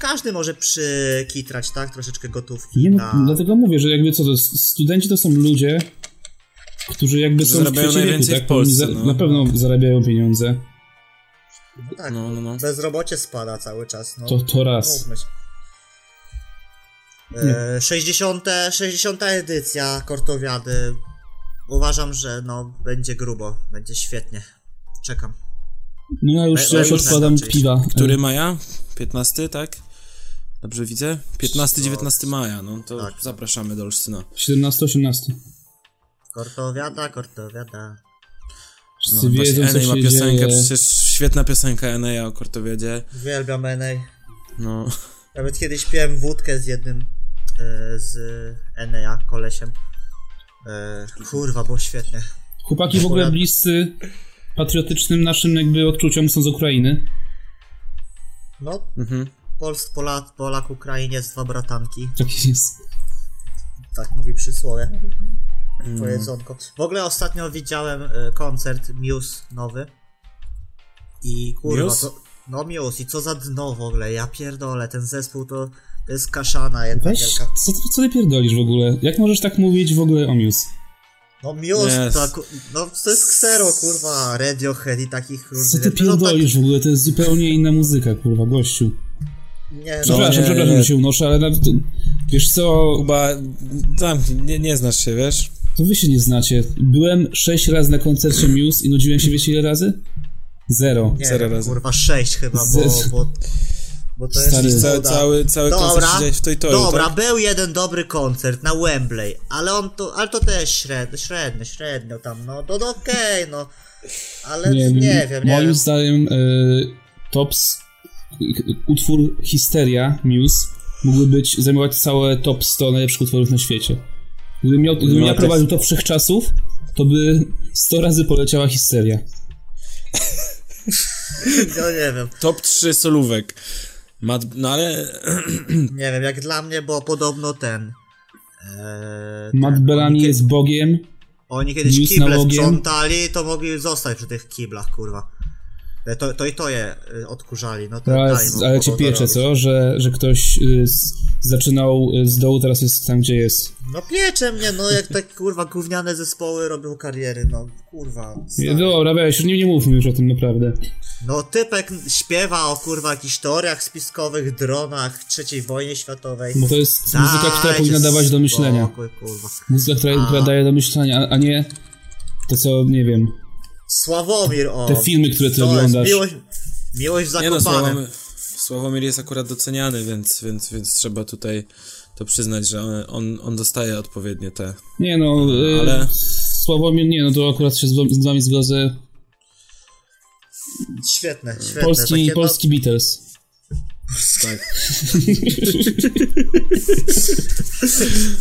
Speaker 2: każdy może przykitrać, tak? Troszeczkę gotówki
Speaker 4: Nie, no,
Speaker 2: na...
Speaker 4: dlatego mówię, że jakby co, to s- studenci to są ludzie, którzy jakby
Speaker 1: Którzy
Speaker 4: są
Speaker 1: zarabiają
Speaker 4: w najwięcej
Speaker 1: najwięcej
Speaker 4: wieku, tak?
Speaker 1: w Polsce,
Speaker 4: Oni
Speaker 1: no.
Speaker 4: Na pewno zarabiają pieniądze.
Speaker 2: no tak,
Speaker 1: No, no, no.
Speaker 2: bezrobocie spada cały czas, no.
Speaker 4: To, to raz.
Speaker 2: Mówmy się. E, 60, 60 edycja Kortowiady. Uważam, że no będzie grubo, będzie świetnie. Czekam.
Speaker 4: No ja już,
Speaker 2: No,
Speaker 4: ja już
Speaker 2: no,
Speaker 4: odkładam
Speaker 2: oczywiście.
Speaker 4: piwa.
Speaker 1: Który maja? 15, tak? Dobrze widzę? 15-19 maja, no to
Speaker 2: Tak.
Speaker 1: zapraszamy do Olsztyna.
Speaker 4: 17-18.
Speaker 2: Kortowiada, Kortowiada.
Speaker 4: Wszyscy
Speaker 1: No, właśnie
Speaker 4: wiedzą, co
Speaker 1: Enej ma
Speaker 4: się
Speaker 1: piosenkę,
Speaker 4: dzieje.
Speaker 1: przecież świetna piosenka Eneja o Kortowiadzie.
Speaker 2: Uwielbiam Enej.
Speaker 1: No,
Speaker 2: Nawet kiedyś piłem wódkę z jednym e, z Eneja, kolesiem. E, kurwa, było świetnie.
Speaker 4: Chłopaki w ogóle bliscy patriotycznym naszym jakby odczuciom są z Ukrainy.
Speaker 2: No,
Speaker 1: mhm.
Speaker 2: Polsk, Polak, Polak, Ukrainiec, dwa bratanki.
Speaker 4: Tak jest.
Speaker 2: Tak mówi przysłowie.
Speaker 1: No.
Speaker 2: Pojedzonko. W ogóle ostatnio widziałem e, koncert Muse nowy. I kurwa,
Speaker 1: Muse?
Speaker 2: to, no Muse, i co za dno w ogóle, ja pierdolę, ten zespół to, to jest kaszana jedna
Speaker 4: Weź,
Speaker 2: wielka.
Speaker 4: co, ty- co ty pierdolisz w ogóle? Jak możesz tak mówić w ogóle o Muse?
Speaker 2: No Muse,
Speaker 1: Yes.
Speaker 2: to, aku- no to jest ksero, kurwa, Radiohead i takich
Speaker 4: Co
Speaker 2: różnych...
Speaker 4: ty
Speaker 2: no, tak,
Speaker 4: pierdolisz w ogóle? To jest zupełnie inna muzyka, kurwa, gościu.
Speaker 2: nie, no,
Speaker 4: Przepraszam,
Speaker 1: nie,
Speaker 4: przepraszam,
Speaker 1: nie.
Speaker 4: że się unoszę, ale nawet, wiesz co,
Speaker 1: Kuba, zamknij, nie, nie znasz się, wiesz?
Speaker 4: to wy się nie znacie. Byłem sześć razy na koncercie Muse i nudziłem się wiecie ile razy? Zero.
Speaker 2: nie
Speaker 1: zero razy.
Speaker 2: kurwa, sześć chyba,
Speaker 4: Zez-
Speaker 2: bo, bo, bo to jest...
Speaker 4: Stary,
Speaker 2: listopada.
Speaker 1: Cały, cały, cały koncert siedziałeś w tej toju,
Speaker 2: Dobra,
Speaker 1: tak?
Speaker 2: był jeden dobry koncert na Wembley, ale on to, ale to też średnio, średnio, średnio tam, no to no, okej, no. Ale nie, wiem, nie
Speaker 4: Moim
Speaker 2: wiem.
Speaker 4: zdaniem y, tops, k- k- utwór Histeria Muse mógłby być, zajmować całe top 100 najlepszych utworów na świecie. Gdybym, miał, gdybym
Speaker 1: No,
Speaker 4: ja
Speaker 1: to-
Speaker 4: prowadził to wszechczasów, to by 100 razy poleciała Histeria.
Speaker 2: No nie wiem,
Speaker 1: Top 3 solówek. Mad... No ale...
Speaker 2: nie wiem, jak dla mnie, bo podobno ten. E,
Speaker 4: Matt
Speaker 2: ten,
Speaker 4: Bellamy
Speaker 2: oni,
Speaker 4: jest bogiem,
Speaker 2: Oni kiedyś
Speaker 4: News na
Speaker 2: kible
Speaker 4: logiem.
Speaker 2: sprzątali, to mogli zostać przy tych kiblach, kurwa. E, To, to i to je e, odkurzali, no to daj
Speaker 4: Teraz,
Speaker 2: mu,
Speaker 4: ale
Speaker 2: mogą
Speaker 4: cię
Speaker 2: to
Speaker 4: piecze,
Speaker 2: robić.
Speaker 4: co? Że, że ktoś y, z, zaczynał y, z dołu, teraz jest tam, gdzie jest.
Speaker 2: No piecze mnie, no jak tak kurwa gówniane zespoły robią kariery, no kurwa.
Speaker 4: Nie,
Speaker 2: stary.
Speaker 4: No Dobra, weź, nie, nie mówmy już o tym naprawdę.
Speaker 2: No typek śpiewa o kurwa jakichś teoriach spiskowych, dronach III wojnie światowej.
Speaker 4: Bo to jest
Speaker 2: Dajcie
Speaker 4: muzyka, która powinna dawać do myślenia.
Speaker 2: Spokój, kurwa.
Speaker 4: Muzyka, która, która daje do myślenia, a, a nie to, co, nie wiem.
Speaker 2: Sławomir o.
Speaker 4: Te filmy, które ty
Speaker 2: to jest
Speaker 4: oglądasz.
Speaker 2: Miłość, miłość
Speaker 1: Nie no,
Speaker 2: zakopane.
Speaker 1: Sławomir, Sławomir jest akurat doceniany, więc, więc, więc trzeba tutaj to przyznać, że on, on, on dostaje odpowiednie te...
Speaker 4: Nie no, y,
Speaker 1: Ale-
Speaker 4: Sławomir, nie no, to akurat się z, wam- z wami zgodzę.
Speaker 2: świetne, świetne.
Speaker 4: Polski,
Speaker 2: takie,
Speaker 4: polski Beatles.
Speaker 2: No,
Speaker 1: Tak.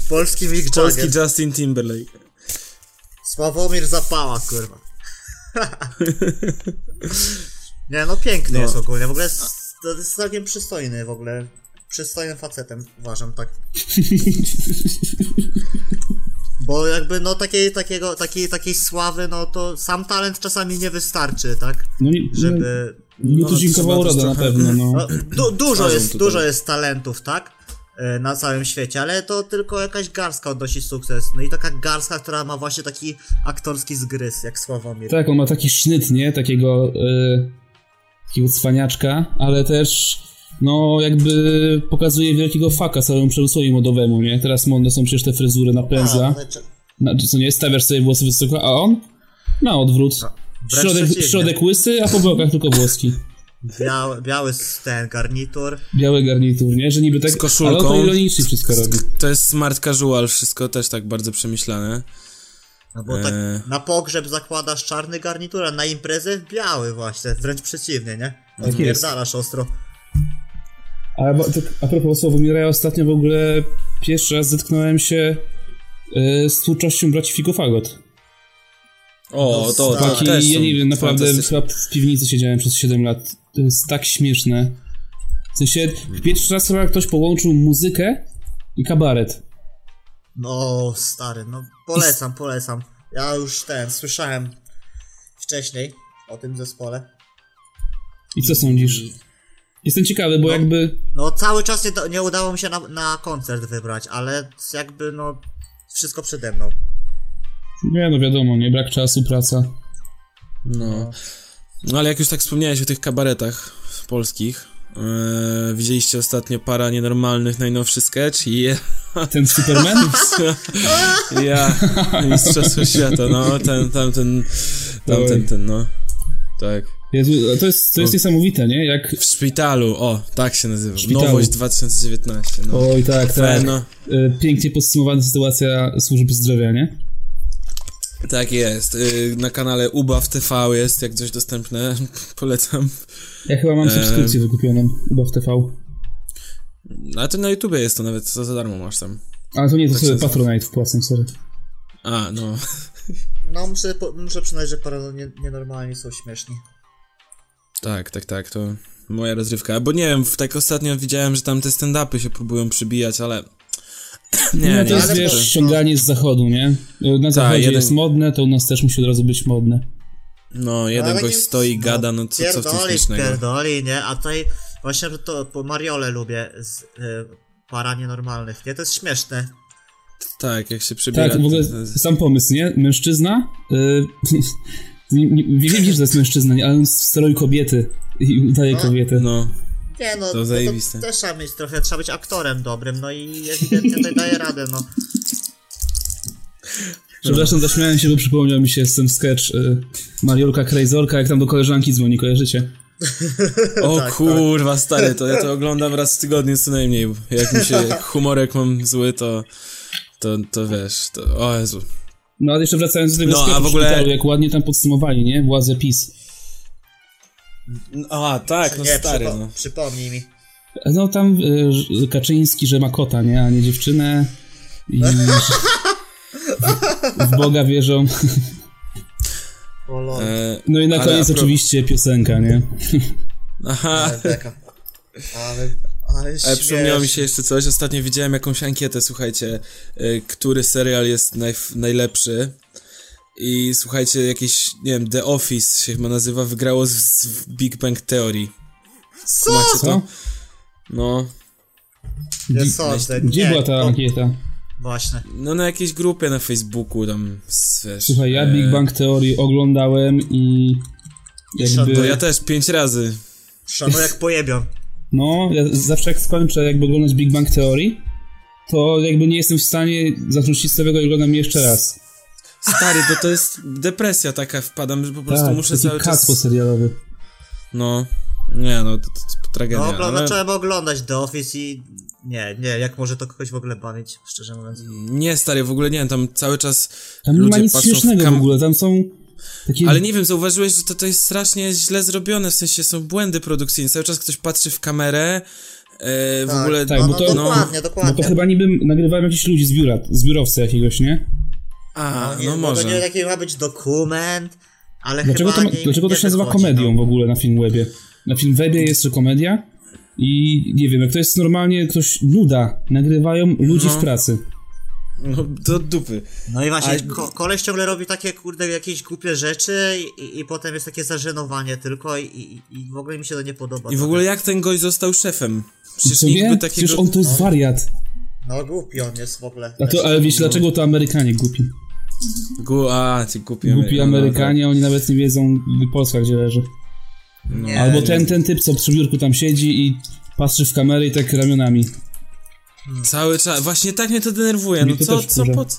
Speaker 2: Polski
Speaker 4: Tak
Speaker 2: Mick
Speaker 1: Polski
Speaker 2: Jagger.
Speaker 1: Justin Timberlake.
Speaker 2: Sławomir Zapała, kurwa. nie, no piękny
Speaker 1: No.
Speaker 2: jest ogólnie. W ogóle jest, to jest całkiem przystojny w ogóle. Przystojnym facetem, uważam, tak. Bo jakby, no takiej, takiego, takiej, takiej sławy, no to sam talent czasami nie wystarczy, tak?
Speaker 4: No nie, żeby...
Speaker 2: Żeby...
Speaker 4: Nie
Speaker 1: no,
Speaker 4: tuzinkowa
Speaker 1: trzeba też
Speaker 4: uroda na
Speaker 1: trochę-
Speaker 4: pewno, no.
Speaker 2: No, du- dużo,
Speaker 1: Razem
Speaker 2: jest,
Speaker 1: tutaj.
Speaker 2: dużo jest talentów, tak? E, Na całym świecie, ale to tylko jakaś garstka odnosi sukces. No i taka garstka, która ma właśnie taki aktorski zgryz, jak Sławomir.
Speaker 4: Tak, on ma taki sznyt, nie? Takiego, y, takiego cwaniaczka, ale też no jakby pokazuje wielkiego faka całemu przemysłowi modowemu, nie? Teraz modne są przecież te fryzury na pędzla.
Speaker 2: A, znaczy,
Speaker 4: Na, co nie? Stawiasz sobie włosy wysoko, a on? Na odwrót.
Speaker 2: No, wręcz
Speaker 4: Środek,
Speaker 2: przeciwnie.
Speaker 4: środek łysy, a po bokach tylko włoski.
Speaker 2: Biały, biały s- ten garnitur.
Speaker 4: Biały garnitur, nie? Że niby tak...
Speaker 1: Z koszulką.
Speaker 4: Ale on to ironicznie wszystko robi.
Speaker 1: To jest smart casual, wszystko też tak bardzo przemyślane.
Speaker 2: No bo tak
Speaker 1: Eee.
Speaker 2: na pogrzeb zakładasz czarny garnitur, a na imprezę biały właśnie, wręcz przeciwnie, nie?
Speaker 4: jest.
Speaker 2: Odpierdalasz ostro.
Speaker 4: A, bo- tak, a propos Sławomira, ja ostatnio w ogóle pierwszy raz zetknąłem się y, z twórczością braci Figofagot.
Speaker 1: O, to,
Speaker 2: No,
Speaker 1: to
Speaker 2: stary.
Speaker 1: też
Speaker 4: Chłopaki,
Speaker 1: są
Speaker 4: ja nie wiem, naprawdę
Speaker 1: fantastyczne.
Speaker 4: chyba w piwnicy siedziałem przez 7 lat. To jest tak śmieszne. W sensie, pierwszy raz chyba ktoś połączył muzykę i kabaret.
Speaker 2: No, stary, no polecam, polecam. Ja już ten, słyszałem wcześniej o tym zespole.
Speaker 4: I co sądzisz? Jestem ciekawy, bo jakby...
Speaker 2: No cały czas nie, nie udało mi się na, na koncert wybrać, ale jakby no wszystko przede mną.
Speaker 4: Nie no, wiadomo, nie? Brak czasu, praca.
Speaker 1: No. no ale jak już tak wspomniałeś o tych kabaretach polskich, e, widzieliście ostatnio para nienormalnych, najnowszy sketch? Je-
Speaker 4: Ten Superman?
Speaker 1: Ja, Mistrzostwo Świata, no, ten, tamten, tamten,
Speaker 4: Oj.
Speaker 1: ten, no. Tak.
Speaker 4: Jezu, to jest,
Speaker 1: No.
Speaker 4: to jest niesamowite, nie? Jak...
Speaker 1: W szpitalu, o, tak się nazywa.
Speaker 4: szpitalu.
Speaker 1: Nowość 2019, no.
Speaker 4: Oj, tak, tak.
Speaker 1: Ten, no.
Speaker 4: Y, Pięknie podsumowana sytuacja służby zdrowia, nie?
Speaker 1: Tak jest. y, Na kanale Ubaw TV jest, jak coś dostępne, polecam.
Speaker 4: Ja chyba
Speaker 1: E.
Speaker 4: mam subskrypcję wykupioną, chyba w TV.
Speaker 1: Ale to na YouTubie jest to nawet, to za darmo masz tam.
Speaker 4: Ale to nie, to
Speaker 1: Tak
Speaker 4: sobie
Speaker 1: się-
Speaker 4: Patronite wpłacam, sorry.
Speaker 1: A, no.
Speaker 2: No muszę, po- muszę przyznać, że parę nie, nienormalni są śmieszni.
Speaker 1: Tak, tak, tak, to moja rozrywka. Bo nie wiem, w- tak ostatnio widziałem, że tam te stand-upy się próbują przybijać, ale... Nie,
Speaker 4: Nie,
Speaker 1: nie,
Speaker 4: no to jest,
Speaker 2: ale
Speaker 4: wiesz,
Speaker 2: to-
Speaker 4: ściąganie z zachodu, nie? Na zachodzie
Speaker 1: Tak, jeden-
Speaker 4: jest modne, to u nas też musi od razu być modne.
Speaker 1: No, jeden
Speaker 2: Ale
Speaker 1: gość
Speaker 2: nie-
Speaker 1: stoi i gada, no co, co w tym
Speaker 2: pierdoli,
Speaker 1: śmiesznego?
Speaker 2: Pierdoli, nie? A tutaj właśnie że to po Mariole lubię z y, para nienormalnych, nie? To jest śmieszne.
Speaker 1: Tak, jak się przybiera...
Speaker 4: Tak, w ogóle
Speaker 1: to- to-
Speaker 4: sam pomysł, nie? Mężczyzna, y, nie, nie, nie wiem, że to jest mężczyzna, nie? ale on steruje kobiety i udaje kobietę.
Speaker 1: No,
Speaker 2: Nie no,
Speaker 1: To
Speaker 2: no
Speaker 1: zajebiste.
Speaker 2: też trzeba mieć trochę, trzeba być aktorem dobrym, no i ewidentnie tutaj daje radę, no.
Speaker 4: Przepraszam, zaśmiałem się, bo przypomniał mi się ten sketch y, Mariolka Krejzorka, jak tam do koleżanki dzwoni, kojarzycie?
Speaker 1: o kurwa, stary, to ja to oglądam raz w tygodniu co najmniej. bo Jak mi się jak humorek mam zły, to... To, to wiesz, to... O Jezu.
Speaker 4: No, ale jeszcze wracając do tego
Speaker 1: No, a
Speaker 4: sketchu
Speaker 1: w ogóle-
Speaker 4: szpitalu, jak ładnie tam podsumowali, nie? Władze PiS.
Speaker 1: A, tak, no
Speaker 2: nie,
Speaker 1: stary,
Speaker 2: przypo-
Speaker 1: no.
Speaker 2: przypomnij mi.
Speaker 4: No tam y, że Kaczyński, że ma kota, nie? A nie dziewczynę. I w- w Boga wierzą.
Speaker 2: O lol,
Speaker 1: E,
Speaker 4: No i na
Speaker 1: ale
Speaker 4: koniec
Speaker 1: a pro-
Speaker 4: oczywiście piosenka, nie?
Speaker 1: Aha,
Speaker 2: ale beka. Ale, ale
Speaker 1: Ale przypomniało mi
Speaker 2: śmieszne.
Speaker 4: śmieszne.
Speaker 1: się jeszcze coś. Ostatnio widziałem jakąś ankietę, słuchajcie, y, który serial jest najf- najlepszy. I słuchajcie, jakieś, nie wiem, The Office się chyba nazywa, wygrało z, z Big Bang Theory.
Speaker 2: Co?
Speaker 1: Macie to?
Speaker 4: Co?
Speaker 1: No.
Speaker 2: Nie
Speaker 4: Gdzie-
Speaker 2: sądzę,
Speaker 4: Gdzie
Speaker 2: nie,
Speaker 4: była ta
Speaker 2: to-
Speaker 4: ankieta?
Speaker 2: Właśnie.
Speaker 1: No na jakiejś grupie na Facebooku tam, s- wiesz.
Speaker 4: Słuchaj, ja
Speaker 1: e,
Speaker 4: Big Bang Theory oglądałem i
Speaker 1: To
Speaker 4: jakby...
Speaker 1: ja też pięć razy.
Speaker 2: Szanuję jak pojebią.
Speaker 4: No, ja zawsze jak skończę jakby oglądać Big Bang Theory, to jakby nie jestem w stanie zacząć nic nowego i oglądam jeszcze raz.
Speaker 1: Stary, to to jest depresja taka, wpadam, że po prostu
Speaker 4: Tak,
Speaker 1: muszę
Speaker 4: muszę
Speaker 1: cały
Speaker 4: taki
Speaker 1: czas...
Speaker 4: kaspo serialowy.
Speaker 1: No, nie no, to, to, to tragedia.
Speaker 2: No, ogląda,
Speaker 1: ale-
Speaker 2: zacząłem oglądać The Office i... Nie, nie, jak może to kogoś w ogóle bawić, szczerze mówiąc.
Speaker 1: Nie, stary, w ogóle nie wiem, tam cały czas
Speaker 4: Tam nie
Speaker 1: ludzie
Speaker 4: ma nic
Speaker 1: patrzą w
Speaker 4: śmiesznego w
Speaker 1: kam-
Speaker 4: ogóle, tam są Takie...
Speaker 1: Ale nie wiem, zauważyłeś, że to, to jest strasznie źle zrobione, w sensie są błędy produkcyjne. Cały czas ktoś patrzy w kamerę, e, w
Speaker 2: Tak,
Speaker 1: ogóle...
Speaker 4: tak,
Speaker 2: no,
Speaker 4: bo
Speaker 2: no,
Speaker 4: to-
Speaker 2: dokładnie,
Speaker 4: No
Speaker 2: dokładnie.
Speaker 4: to chyba niby nagrywałem jakichś ludzi z biura, z biurowca jakiegoś, nie?
Speaker 1: A,
Speaker 2: nie,
Speaker 1: no
Speaker 2: bo To nie
Speaker 1: może.
Speaker 2: taki ma być dokument, ale
Speaker 4: Dlaczego
Speaker 2: chyba
Speaker 4: to, ma-
Speaker 2: nie,
Speaker 4: dlaczego to
Speaker 2: nie
Speaker 4: się nazywa
Speaker 2: wychodzi,
Speaker 4: komedią
Speaker 2: No.
Speaker 4: w ogóle na Filmwebie? Na Filmwebie jest to komedia i nie wiem, jak to jest normalnie ktoś nuda, nagrywają ludzi w pracy.
Speaker 1: No, do dupy.
Speaker 2: No i właśnie,
Speaker 1: A-
Speaker 2: ko- koleś ciągle robi takie, kurde, jakieś głupie rzeczy i, i potem jest takie zażenowanie tylko i, i, i w ogóle mi się to nie podoba.
Speaker 1: I w ogóle jak ten gość został szefem? Przecież
Speaker 4: Co
Speaker 1: nikt
Speaker 4: nie?
Speaker 1: by
Speaker 4: Przecież
Speaker 1: takiego...
Speaker 4: on to jest wariat.
Speaker 2: No głupi on jest w ogóle. Znaczy,
Speaker 4: A to, ale wiesz, dlaczego to Amerykanie głupi?
Speaker 1: Gu... A, ty głupi,
Speaker 4: Głupi
Speaker 1: Amery- no,
Speaker 4: Amerykanie,
Speaker 2: tak.
Speaker 4: oni nawet nie wiedzą w Polsce, gdzie leży.
Speaker 2: Nie,
Speaker 4: Albo ten, ten typ, co przy biurku tam siedzi i patrzy w kamerę i tak ramionami.
Speaker 1: no, Cały czas... Właśnie tak mnie to denerwuje.
Speaker 4: Mnie
Speaker 1: No
Speaker 4: to
Speaker 1: co,
Speaker 4: też
Speaker 1: co
Speaker 4: wkurza.
Speaker 1: po... co?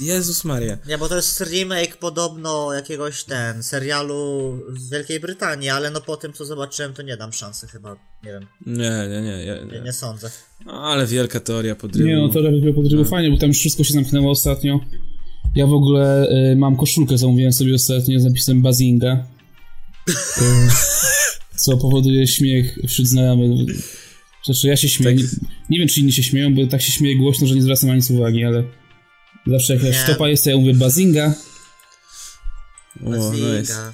Speaker 1: Jezus Maria.
Speaker 2: Nie, bo to jest remake podobno jakiegoś ten serialu z Wielkiej Brytanii, ale no po tym co zobaczyłem to nie dam szansy chyba. Nie wiem,
Speaker 1: Nie, nie, nie. ja-
Speaker 2: nie,
Speaker 1: nie.
Speaker 2: nie sądzę.
Speaker 1: No, ale wielka teoria podrywu.
Speaker 4: Nie, no to lepiej było podrywu
Speaker 1: Tak.
Speaker 4: fajnie, bo tam już wszystko się zamknęło ostatnio. Ja w ogóle y, mam koszulkę, zamówiłem sobie ostatnio z napisem Bazinga. Y, co powoduje śmiech wśród znajomych. Znaczy ja się
Speaker 1: Tak.
Speaker 4: śmieję. Nie, nie wiem, czy inni się śmieją, bo tak się śmieję głośno, że nie zwracam na nic uwagi, ale zawsze jak jakaś
Speaker 2: Nie.
Speaker 4: stopa jest, to ja mówię Bazinga.
Speaker 1: O, no jest.
Speaker 2: Zinga.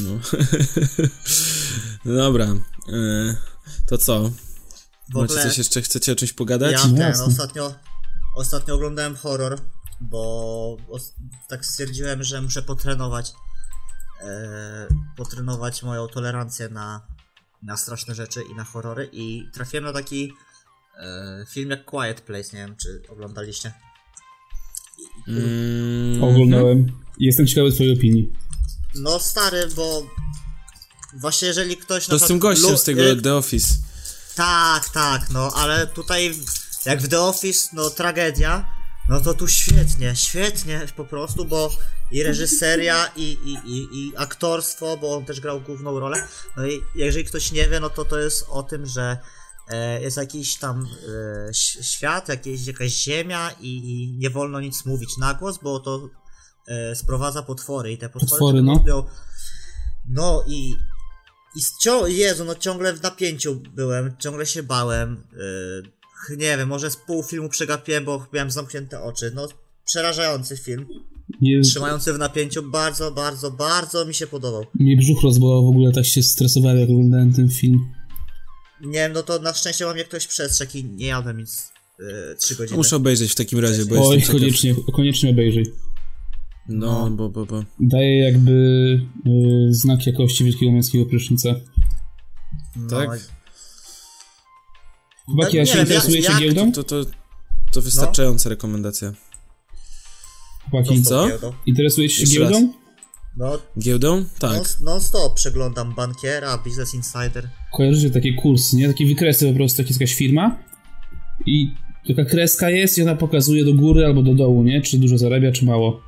Speaker 1: No. Dobra. e, To co?
Speaker 2: W
Speaker 1: Macie
Speaker 2: ogóle-
Speaker 1: coś jeszcze? Chcecie o czymś pogadać?
Speaker 2: Ja ten,
Speaker 4: Jasne.
Speaker 2: ostatnio, ostatnio oglądałem horror, bo os- tak stwierdziłem, że muszę potrenować e, potrenować moją tolerancję na, na straszne rzeczy i na horrory i trafiłem na taki e, film jak Quiet Place, nie wiem czy oglądaliście.
Speaker 1: Mm,
Speaker 4: Oglądałem. I Jestem ciekawy twojej opinii.
Speaker 2: No stary, bo właśnie jeżeli ktoś... na
Speaker 1: To z tym
Speaker 2: przykład
Speaker 1: gościem
Speaker 2: lu-
Speaker 1: z tego
Speaker 2: e,
Speaker 1: The Office.
Speaker 2: Tak, tak, no, ale tutaj jak w The Office, no tragedia, no to tu świetnie, świetnie po prostu, bo i reżyseria, i, i, i, i aktorstwo, bo on też grał główną rolę. No i jeżeli ktoś nie wie, no to to jest o tym, że e, jest jakiś tam e, ś- świat, jakieś, jakaś ziemia i, i nie wolno nic mówić na głos, bo to e, sprowadza potwory i te potwory,
Speaker 4: Potwory,
Speaker 2: tylko
Speaker 4: no.
Speaker 2: mówią- no i, i cio- Jezu, no ciągle w napięciu byłem, ciągle się bałem. Yy, nie wiem, może z pół filmu przegapiłem, bo miałem zamknięte oczy. No, przerażający film.
Speaker 4: Nie,
Speaker 2: Trzymający w napięciu, bardzo, bardzo, bardzo mi się podobał.
Speaker 4: mnie brzuch rozbolał w ogóle, tak się stresowałem, jak oglądałem ten film.
Speaker 2: Nie wiem, no to na szczęście mam mnie ktoś przestrzegł i nie jadłem nic yy, 3 godziny.
Speaker 1: Muszę obejrzeć w takim razie, bo
Speaker 4: Oj,
Speaker 1: jestem ciekaw.
Speaker 4: koniecznie, koniecznie obejrzyj.
Speaker 1: No, bo, bo, bo.
Speaker 4: daje jakby y, znak jakości wielkiego męskiego prysznica.
Speaker 2: no,
Speaker 1: tak?
Speaker 4: Chłopaki,
Speaker 2: No,
Speaker 4: ja
Speaker 2: nie
Speaker 4: się
Speaker 2: wiem,
Speaker 4: interesujecie
Speaker 2: jak- jak
Speaker 4: giełdą?
Speaker 1: To, to, to wystarczająca rekomendacja.
Speaker 4: Chłopaki,
Speaker 1: co?
Speaker 2: Giełdą.
Speaker 4: interesujecie się
Speaker 1: Jeszcze raz.
Speaker 4: giełdą?
Speaker 2: No,
Speaker 1: Giełdą? Tak.
Speaker 2: non, non stop przeglądam bankiera, Business Insider.
Speaker 4: Kojarzycie takie kursy, nie? Takie wykresy po prostu, jak jest jakaś firma i taka kreska jest i ona pokazuje do góry albo do dołu, nie? Czy dużo zarabia, czy mało.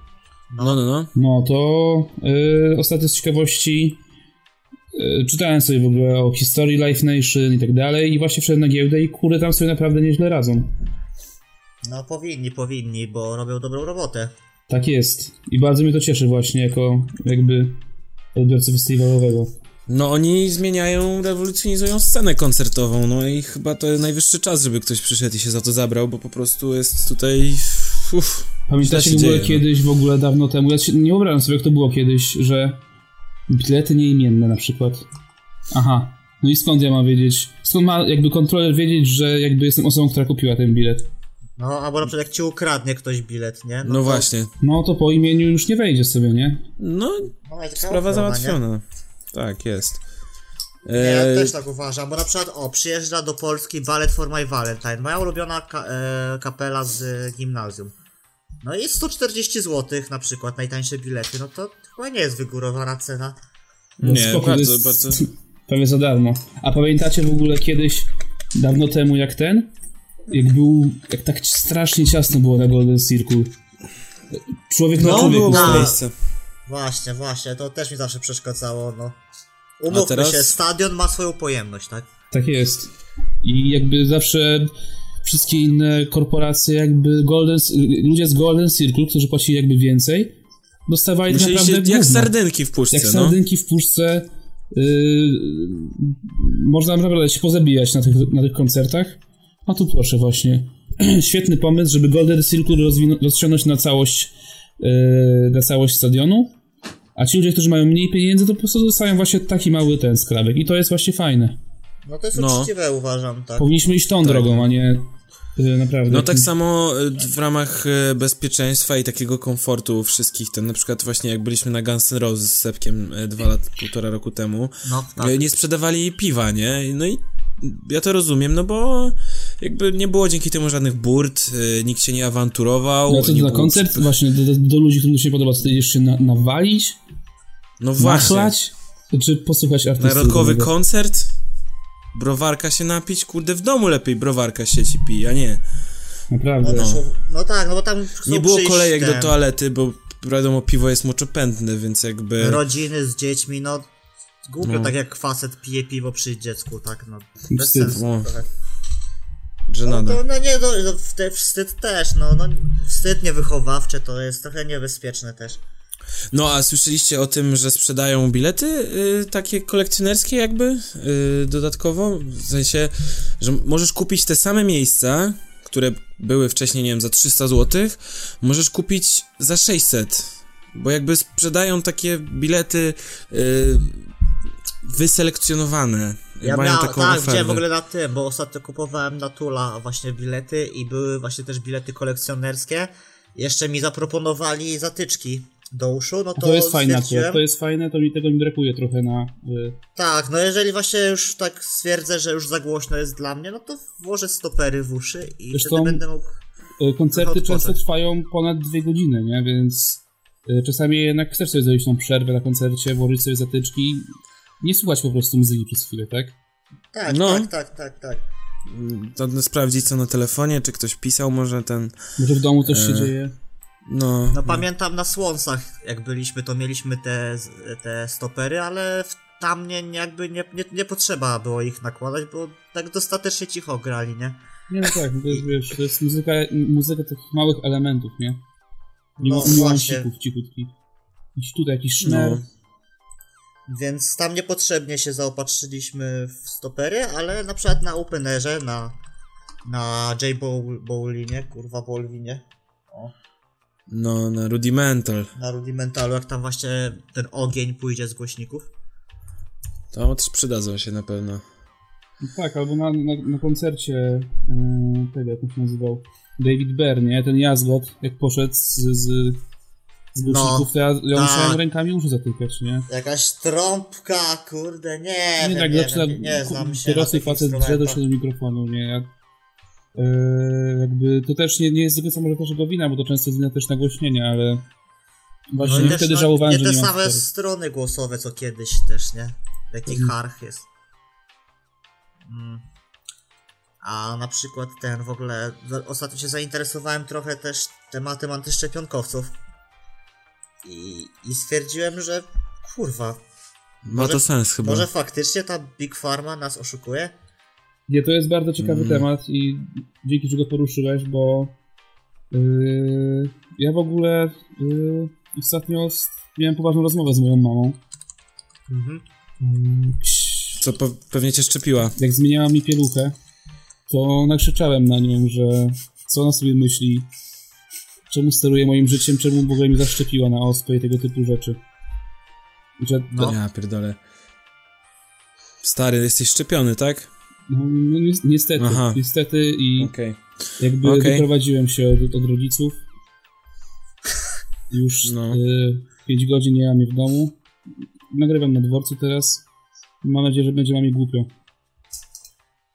Speaker 1: No, no, no.
Speaker 4: No to y, ostatnio z ciekawości y, czytałem sobie w ogóle o historii Life Nation i tak dalej i właśnie wszedłem na giełdę i kury tam sobie naprawdę nieźle radzą.
Speaker 2: No powinni, powinni, bo robią dobrą robotę.
Speaker 4: Tak jest. I bardzo mnie to cieszy właśnie jako jakby odbiorcy festiwalowego.
Speaker 1: No oni zmieniają, rewolucjonizują scenę koncertową, no i chyba to najwyższy czas, żeby ktoś przyszedł i się za to zabrał, bo po prostu jest tutaj... Uff.
Speaker 4: Pamiętacie
Speaker 1: Źle
Speaker 4: w
Speaker 1: się
Speaker 4: ogóle
Speaker 1: dzieje, no.
Speaker 4: kiedyś, w ogóle dawno temu, ja się nie wyobrażam sobie jak to było kiedyś, że bilety nieimienne na przykład. Aha. No i skąd ja mam wiedzieć? Skąd ma jakby kontroler wiedzieć, że jakby jestem osobą, która kupiła ten bilet?
Speaker 2: No, albo na przykład jak ci ukradnie ktoś bilet, nie?
Speaker 1: No,
Speaker 2: to-
Speaker 1: właśnie.
Speaker 4: No to po imieniu już nie wejdzie sobie, nie?
Speaker 1: No,
Speaker 2: No, jest
Speaker 1: sprawa
Speaker 2: ochrona, nie?
Speaker 1: załatwiona. Tak, jest.
Speaker 2: Nie, ja
Speaker 1: E,
Speaker 2: też tak uważam, bo na przykład, o, przyjeżdża do Polski Ballet for My Valentine, moja ulubiona ka- e, kapela z e, gimnazjum. No i 140 zł na przykład, najtańsze bilety, no to chyba nie jest wygórowana cena.
Speaker 1: Nie,
Speaker 4: Spoko, to
Speaker 1: bardzo,
Speaker 4: jest
Speaker 1: bardzo...
Speaker 4: Prawie za darmo. A pamiętacie w ogóle kiedyś, dawno temu, jak ten? Jak był, jak tak strasznie ciasno było na Golden Circle. Człowiek na
Speaker 1: No,
Speaker 4: człowieku.
Speaker 1: było
Speaker 2: na-
Speaker 1: miejsce.
Speaker 4: Tak
Speaker 2: Właśnie, właśnie, to też mi zawsze przeszkadzało, no. Umówmy
Speaker 1: A teraz?
Speaker 2: się, stadion ma swoją pojemność, tak?
Speaker 4: Tak jest. I jakby zawsze wszystkie inne korporacje, jakby Golden, ludzie z Golden Circle, którzy płacili jakby więcej, dostawali tak
Speaker 1: Musieliście
Speaker 4: naprawdę
Speaker 1: jak
Speaker 4: gówno.
Speaker 1: sardynki w puszce,
Speaker 4: Jak
Speaker 1: no.
Speaker 4: sardynki w puszce. Yy, można naprawdę się pozabijać na tych, na tych koncertach. A tu proszę właśnie. Świetny pomysł, żeby Golden Circle rozwinu- rozciągnąć na całość, yy, na całość stadionu. A ci ludzie, którzy mają mniej pieniędzy, to po prostu dostają właśnie taki mały ten skrawek. I to jest właśnie fajne.
Speaker 2: No to jest
Speaker 1: No.
Speaker 2: uczciwe, uważam, tak.
Speaker 4: Powinniśmy iść tą drogą, a nie yy, naprawdę.
Speaker 1: No tak samo y, w ramach y, bezpieczeństwa i takiego komfortu wszystkich, ten na przykład właśnie jak byliśmy na Guns N' Roses z Sepkiem y, dwa lat, półtora roku temu,
Speaker 2: No, tak.
Speaker 1: y, nie sprzedawali piwa, nie? No i ja to rozumiem, no bo jakby nie było dzięki temu żadnych burd, y, nikt się nie awanturował.
Speaker 4: No to
Speaker 1: nie
Speaker 4: na
Speaker 1: było-
Speaker 4: koncert właśnie do, do, do ludzi, którym się nie podoba, to jeszcze na, nawalić,
Speaker 1: No właśnie,
Speaker 4: machlać, czy posłuchać artystów.
Speaker 1: narodowy
Speaker 4: dobrego?
Speaker 1: koncert, browarka się napić, kurde w domu lepiej browarka się ci pije, a nie.
Speaker 4: Naprawdę.
Speaker 2: No. no tak, no bo tam chcą
Speaker 1: Nie było
Speaker 2: przyjść
Speaker 1: kolejek do
Speaker 2: te
Speaker 1: toalety, bo wiadomo, piwo jest moczopędne, więc jakby...
Speaker 2: Rodziny z dziećmi, Y, no głupio tak jak facet pije piwo przy dziecku, tak no. Bez
Speaker 4: Wstyd.
Speaker 2: sensu
Speaker 1: O.
Speaker 2: trochę. No,
Speaker 1: Żenada.
Speaker 2: to, no nie, no, no, w te, wstyd też, no, no wstyd niewychowawczy to jest trochę niebezpieczne też.
Speaker 1: No a słyszeliście o tym, że sprzedają bilety y, takie kolekcjonerskie jakby y, dodatkowo? W sensie, że możesz kupić te same miejsca, które były wcześniej, nie wiem, za 300 zł, możesz kupić za 600. Bo jakby sprzedają takie bilety y, wyselekcjonowane.
Speaker 2: Ja
Speaker 1: Mają
Speaker 2: miał,
Speaker 1: taką
Speaker 2: tak,
Speaker 1: ofertę.
Speaker 2: widziałem w ogóle na tym, bo ostatnio kupowałem na Tula właśnie bilety i były właśnie też bilety kolekcjonerskie. Jeszcze mi zaproponowali zatyczki do uszu, no to,
Speaker 4: To, jest fajne, akurat,
Speaker 2: stwierdziłem-
Speaker 4: to jest fajne, to mi tego mi brakuje trochę na... Y,
Speaker 2: Tak, no jeżeli właśnie już tak stwierdzę, że już za głośno jest dla mnie, no to włożę stopery w uszy i
Speaker 4: Zresztą-
Speaker 2: wtedy będę mógł...
Speaker 4: y, koncerty
Speaker 2: Trochę
Speaker 4: często
Speaker 2: odpocząć.
Speaker 4: trwają ponad dwie godziny, nie? Więc y, czasami jednak chcesz sobie zrobić tą przerwę na koncercie, włożyć sobie zatyczki, nie słuchać po prostu muzyki przez chwilę, tak?
Speaker 2: Tak,
Speaker 1: No.
Speaker 2: tak, tak, tak, tak.
Speaker 1: To no, sprawdzić co na telefonie, czy ktoś pisał może ten...
Speaker 4: Może w domu też się dzieje.
Speaker 1: No,
Speaker 2: No pamiętam na Słońcach, jak byliśmy, to mieliśmy te, te stopery, ale w, tam nie, nie- jakby nie, nie, nie potrzeba było ich nakładać, bo tak dostatecznie cicho grali, nie?
Speaker 4: Nie, no tak, no to jest, wiesz, to jest muzyka, muzyka takich małych elementów, nie? Nie
Speaker 2: No
Speaker 4: ma
Speaker 2: właśnie,
Speaker 4: niuansików cikutkich. Jakiś tutaj jakiś szmer.
Speaker 1: No.
Speaker 2: więc tam niepotrzebnie się zaopatrzyliśmy w stopery, ale na przykład na Openerze, na, na J Bowl- Bowlinie, kurwa Bowlinie,
Speaker 1: no, na rudimental.
Speaker 2: na Rudimentalu, jak tam właśnie ten ogień pójdzie z głośników.
Speaker 1: To też przydadzą się na pewno.
Speaker 4: No Tak, albo na, na, na koncercie yy, tego, jak on się nazywał, David Byrne, nie? Ten jazgot, jak poszedł z, z, z głośników, to ja, ja
Speaker 2: tak.
Speaker 4: musiałem rękami uszy zatykać, nie?
Speaker 2: Jakaś trąbka, kurde, nie,
Speaker 4: nie
Speaker 2: wiem,
Speaker 4: tak,
Speaker 2: nie,
Speaker 4: zaczyna
Speaker 2: wiem, nie, nie znam się na
Speaker 4: dorosły
Speaker 2: tych
Speaker 4: facet drze do
Speaker 2: instrumentach.
Speaker 4: się do mikrofonu, nie? Ja, yy, jakby to też nie, nie jest do końca może też jego wina, bo to często jest wina też nagłośnienia, ale
Speaker 2: No
Speaker 4: właśnie
Speaker 2: i też,
Speaker 4: wtedy
Speaker 2: no,
Speaker 4: żałowałem,
Speaker 2: nie
Speaker 4: że
Speaker 2: te
Speaker 4: nie mam
Speaker 2: same
Speaker 4: cztery.
Speaker 2: strony głosowe co kiedyś też, nie? Jaki
Speaker 4: Mhm.
Speaker 2: harch jest. Mm. A na przykład ten w ogóle, za- ostatnio się zainteresowałem trochę też tematem antyszczepionkowców. I, i stwierdziłem, że kurwa,
Speaker 1: Ma
Speaker 2: Może-
Speaker 1: to sens
Speaker 4: No.
Speaker 1: chyba.
Speaker 2: może faktycznie ta Big Pharma nas oszukuje?
Speaker 4: Nie, to jest bardzo ciekawy
Speaker 1: Mm.
Speaker 4: temat i dzięki, że go poruszyłeś, bo yy, ja w ogóle yy, ostatnio s- miałem poważną rozmowę z moją mamą.
Speaker 2: Mhm.
Speaker 1: Co pe- pewnie cię szczepiła.
Speaker 4: Jak zmieniała mi pieluchę, to nakrzyczałem na nią, że co ona sobie myśli, czemu steruje moim życiem, czemu w ogóle mi zaszczepiła na ospę i tego typu rzeczy. I Że,
Speaker 2: No.
Speaker 1: Ja pierdolę. Stary, jesteś szczepiony, tak?
Speaker 4: no, no, ni- niestety,
Speaker 1: Aha.
Speaker 4: niestety i
Speaker 1: Okej.
Speaker 4: Jakby
Speaker 1: Okej.
Speaker 4: wyprowadziłem się od, od rodziców. Już
Speaker 1: No.
Speaker 4: y, 5 godzin nie mam mnie w domu. Nagrywam na dworcu teraz. Mam nadzieję, że będzie mamie głupio.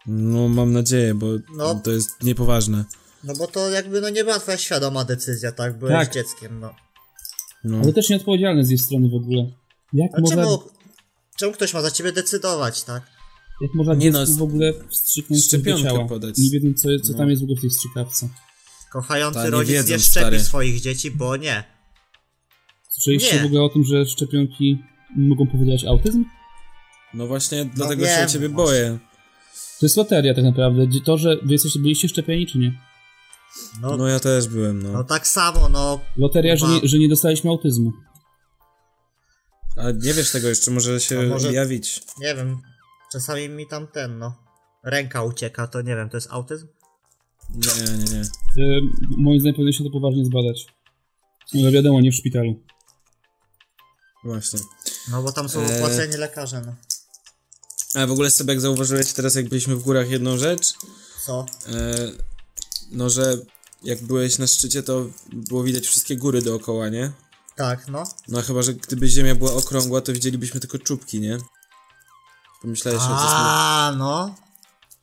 Speaker 1: No mam nadzieję, bo
Speaker 2: No.
Speaker 1: to jest niepoważne.
Speaker 2: No bo to jakby no nie była twoja świadoma decyzja, tak? Byłeś
Speaker 4: Tak.
Speaker 2: dzieckiem, no.
Speaker 1: No.
Speaker 4: Ale też nieodpowiedzialne z jej strony w ogóle. Jak
Speaker 2: A
Speaker 4: można,
Speaker 2: czemu, czemu ktoś ma za ciebie decydować, tak?
Speaker 4: jak można
Speaker 1: Nie
Speaker 4: nie
Speaker 1: no,
Speaker 4: w ogóle wstrzyknąć coś do
Speaker 1: szczepionkę
Speaker 4: ciała?
Speaker 1: podać.
Speaker 4: Nie wiem, co, co
Speaker 1: No.
Speaker 4: tam jest w ogóle w tej strzykawce.
Speaker 2: Kochający
Speaker 1: Ta, nie
Speaker 2: rodzic
Speaker 1: wiedzą,
Speaker 2: nie szczepi
Speaker 1: stary.
Speaker 2: swoich dzieci, bo nie.
Speaker 4: Słyszeliście
Speaker 2: Nie.
Speaker 4: w ogóle o tym, że szczepionki mogą powodować autyzm?
Speaker 1: No właśnie, dlatego się
Speaker 2: wiem,
Speaker 1: o ciebie
Speaker 2: właśnie.
Speaker 1: boję.
Speaker 4: To jest loteria tak naprawdę. Gdzie To, że wy jesteście, byliście szczepieni czy nie?
Speaker 2: No,
Speaker 1: No
Speaker 2: no,
Speaker 1: ja też byłem, no.
Speaker 2: tak samo, no.
Speaker 4: Loteria, że
Speaker 2: Chyba.
Speaker 4: nie, że nie dostaliśmy autyzmu.
Speaker 1: Ale nie wiesz tego jeszcze, może
Speaker 2: A
Speaker 1: się
Speaker 2: może-
Speaker 1: jawić.
Speaker 2: Nie wiem, czasami mi tam ten, no. Ręka ucieka, to nie wiem, to jest autyzm?
Speaker 1: Nie, nie, nie.
Speaker 4: Y, moim zdaniem powinno się to poważnie zbadać. Ale wiadomo, nie w szpitalu.
Speaker 1: Właśnie.
Speaker 2: No bo tam są
Speaker 1: Eee.
Speaker 2: opłaceni lekarze, no.
Speaker 1: A w ogóle Sebek zauważyłeś teraz, jak byliśmy w górach, jedną rzecz.
Speaker 2: Co?
Speaker 1: E, no, że jak byłeś na szczycie, to było widać wszystkie góry dookoła, nie?
Speaker 2: Tak, no.
Speaker 1: No, a chyba, że gdyby ziemia była okrągła, to widzielibyśmy tylko czubki, nie? Pomyślałeś o tym.
Speaker 2: A, no.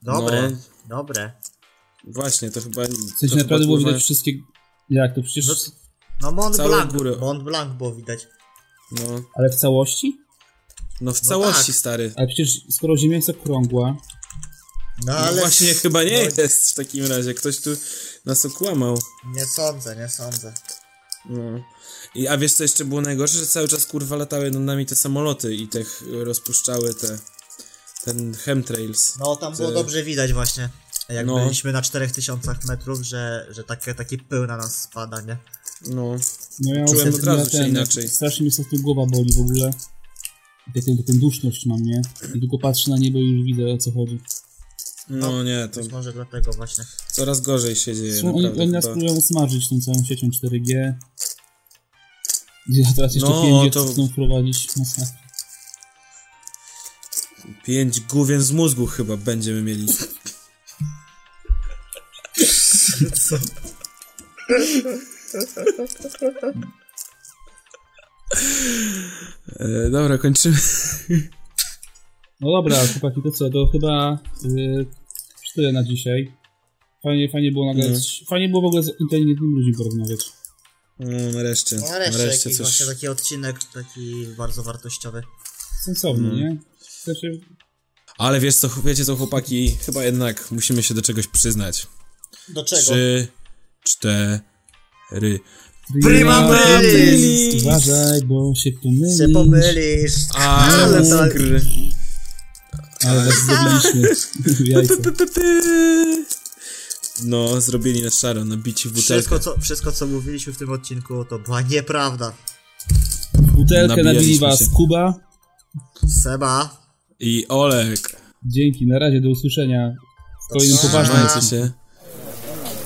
Speaker 2: Dobre,
Speaker 1: No.
Speaker 2: dobre.
Speaker 1: Właśnie, to chyba...
Speaker 4: W sensie
Speaker 1: to chyba Znaczy-
Speaker 4: naprawdę było
Speaker 1: kurwa-
Speaker 4: widać wszystkie... Jak to przecież...
Speaker 2: No, No Mont
Speaker 1: Całą
Speaker 2: Blanc,
Speaker 1: górę.
Speaker 2: Mont Blanc było widać.
Speaker 1: No,
Speaker 4: Ale w całości?
Speaker 1: no w całości,
Speaker 2: tak.
Speaker 1: stary.
Speaker 4: Ale przecież skoro Ziemia jest okrągła,
Speaker 2: No
Speaker 1: No
Speaker 2: ale
Speaker 1: Właśnie chyba nie
Speaker 2: No.
Speaker 1: jest w takim razie. Ktoś tu nas okłamał.
Speaker 2: nie sądzę, nie sądzę.
Speaker 1: No. I, a wiesz co jeszcze było najgorsze? Że cały czas kurwa latały nad nami te samoloty i te ch- rozpuszczały te... Ten chemtrails.
Speaker 2: No tam było
Speaker 1: Ty-
Speaker 2: dobrze widać właśnie. Jak
Speaker 1: No.
Speaker 2: byliśmy na 4000 metrów, że, że takie, taki pył na nas spada, nie?
Speaker 1: No.
Speaker 4: no ja
Speaker 1: Czułem od
Speaker 4: ostatnio
Speaker 1: razu, że
Speaker 4: ten-
Speaker 1: inaczej.
Speaker 4: Strasznie mi ostatnio głowa boli w ogóle. Taką, taką duszność mam, nie? I tylko patrzę na niebo i już widzę o co chodzi.
Speaker 1: No nie, to
Speaker 2: Być może dlatego właśnie.
Speaker 1: coraz gorzej się dzieje.
Speaker 4: Są, oni,
Speaker 1: naprawdę,
Speaker 4: oni nas
Speaker 1: chyba.
Speaker 4: próbują smażyć tą całą siecią 4G. Gdzie teraz jeszcze
Speaker 1: No,
Speaker 4: 5G
Speaker 1: to-
Speaker 4: chcą wprowadzić. Masakra.
Speaker 1: Pięć główien z mózgu chyba będziemy mieli. E, dobra, kończymy.
Speaker 4: No dobra, chłopaki, to co? To chyba yy, tyle na dzisiaj. Fajnie, fajnie było nagrać.
Speaker 1: Mhm.
Speaker 4: Fajnie było w ogóle z inteligentnymi ludźmi porozmawiać.
Speaker 1: No, nareszcie.
Speaker 2: No nareszcie,
Speaker 1: Nareszcie
Speaker 2: jakiś
Speaker 1: coś.
Speaker 2: właśnie taki odcinek, taki bardzo wartościowy.
Speaker 4: Sensownie,
Speaker 1: Mhm.
Speaker 4: nie? Znaczy,
Speaker 1: Ale wiesz co, wiecie co chłopaki, chyba jednak musimy się do czegoś przyznać.
Speaker 2: Do
Speaker 1: Trzy, cztery.
Speaker 2: Primaveris!
Speaker 4: Uważaj, bo się pomylisz.
Speaker 1: Mm.
Speaker 2: Się pomylisz. Ale to...
Speaker 1: skr-
Speaker 4: Ale was zdobyliśmy. Jajko.
Speaker 1: No, zrobili na szaro, nabici w butelkę.
Speaker 2: Wszystko co, wszystko co mówiliśmy w tym odcinku to była nieprawda.
Speaker 4: Butelkę nabili
Speaker 1: Nabijaliśmy
Speaker 4: was
Speaker 1: się.
Speaker 4: Kuba.
Speaker 2: Seba.
Speaker 1: I Olek.
Speaker 4: Dzięki, na razie, do usłyszenia. W kolejnym
Speaker 2: Pa.
Speaker 4: poważnym
Speaker 1: Trzymajcie
Speaker 4: odcinku.
Speaker 1: się.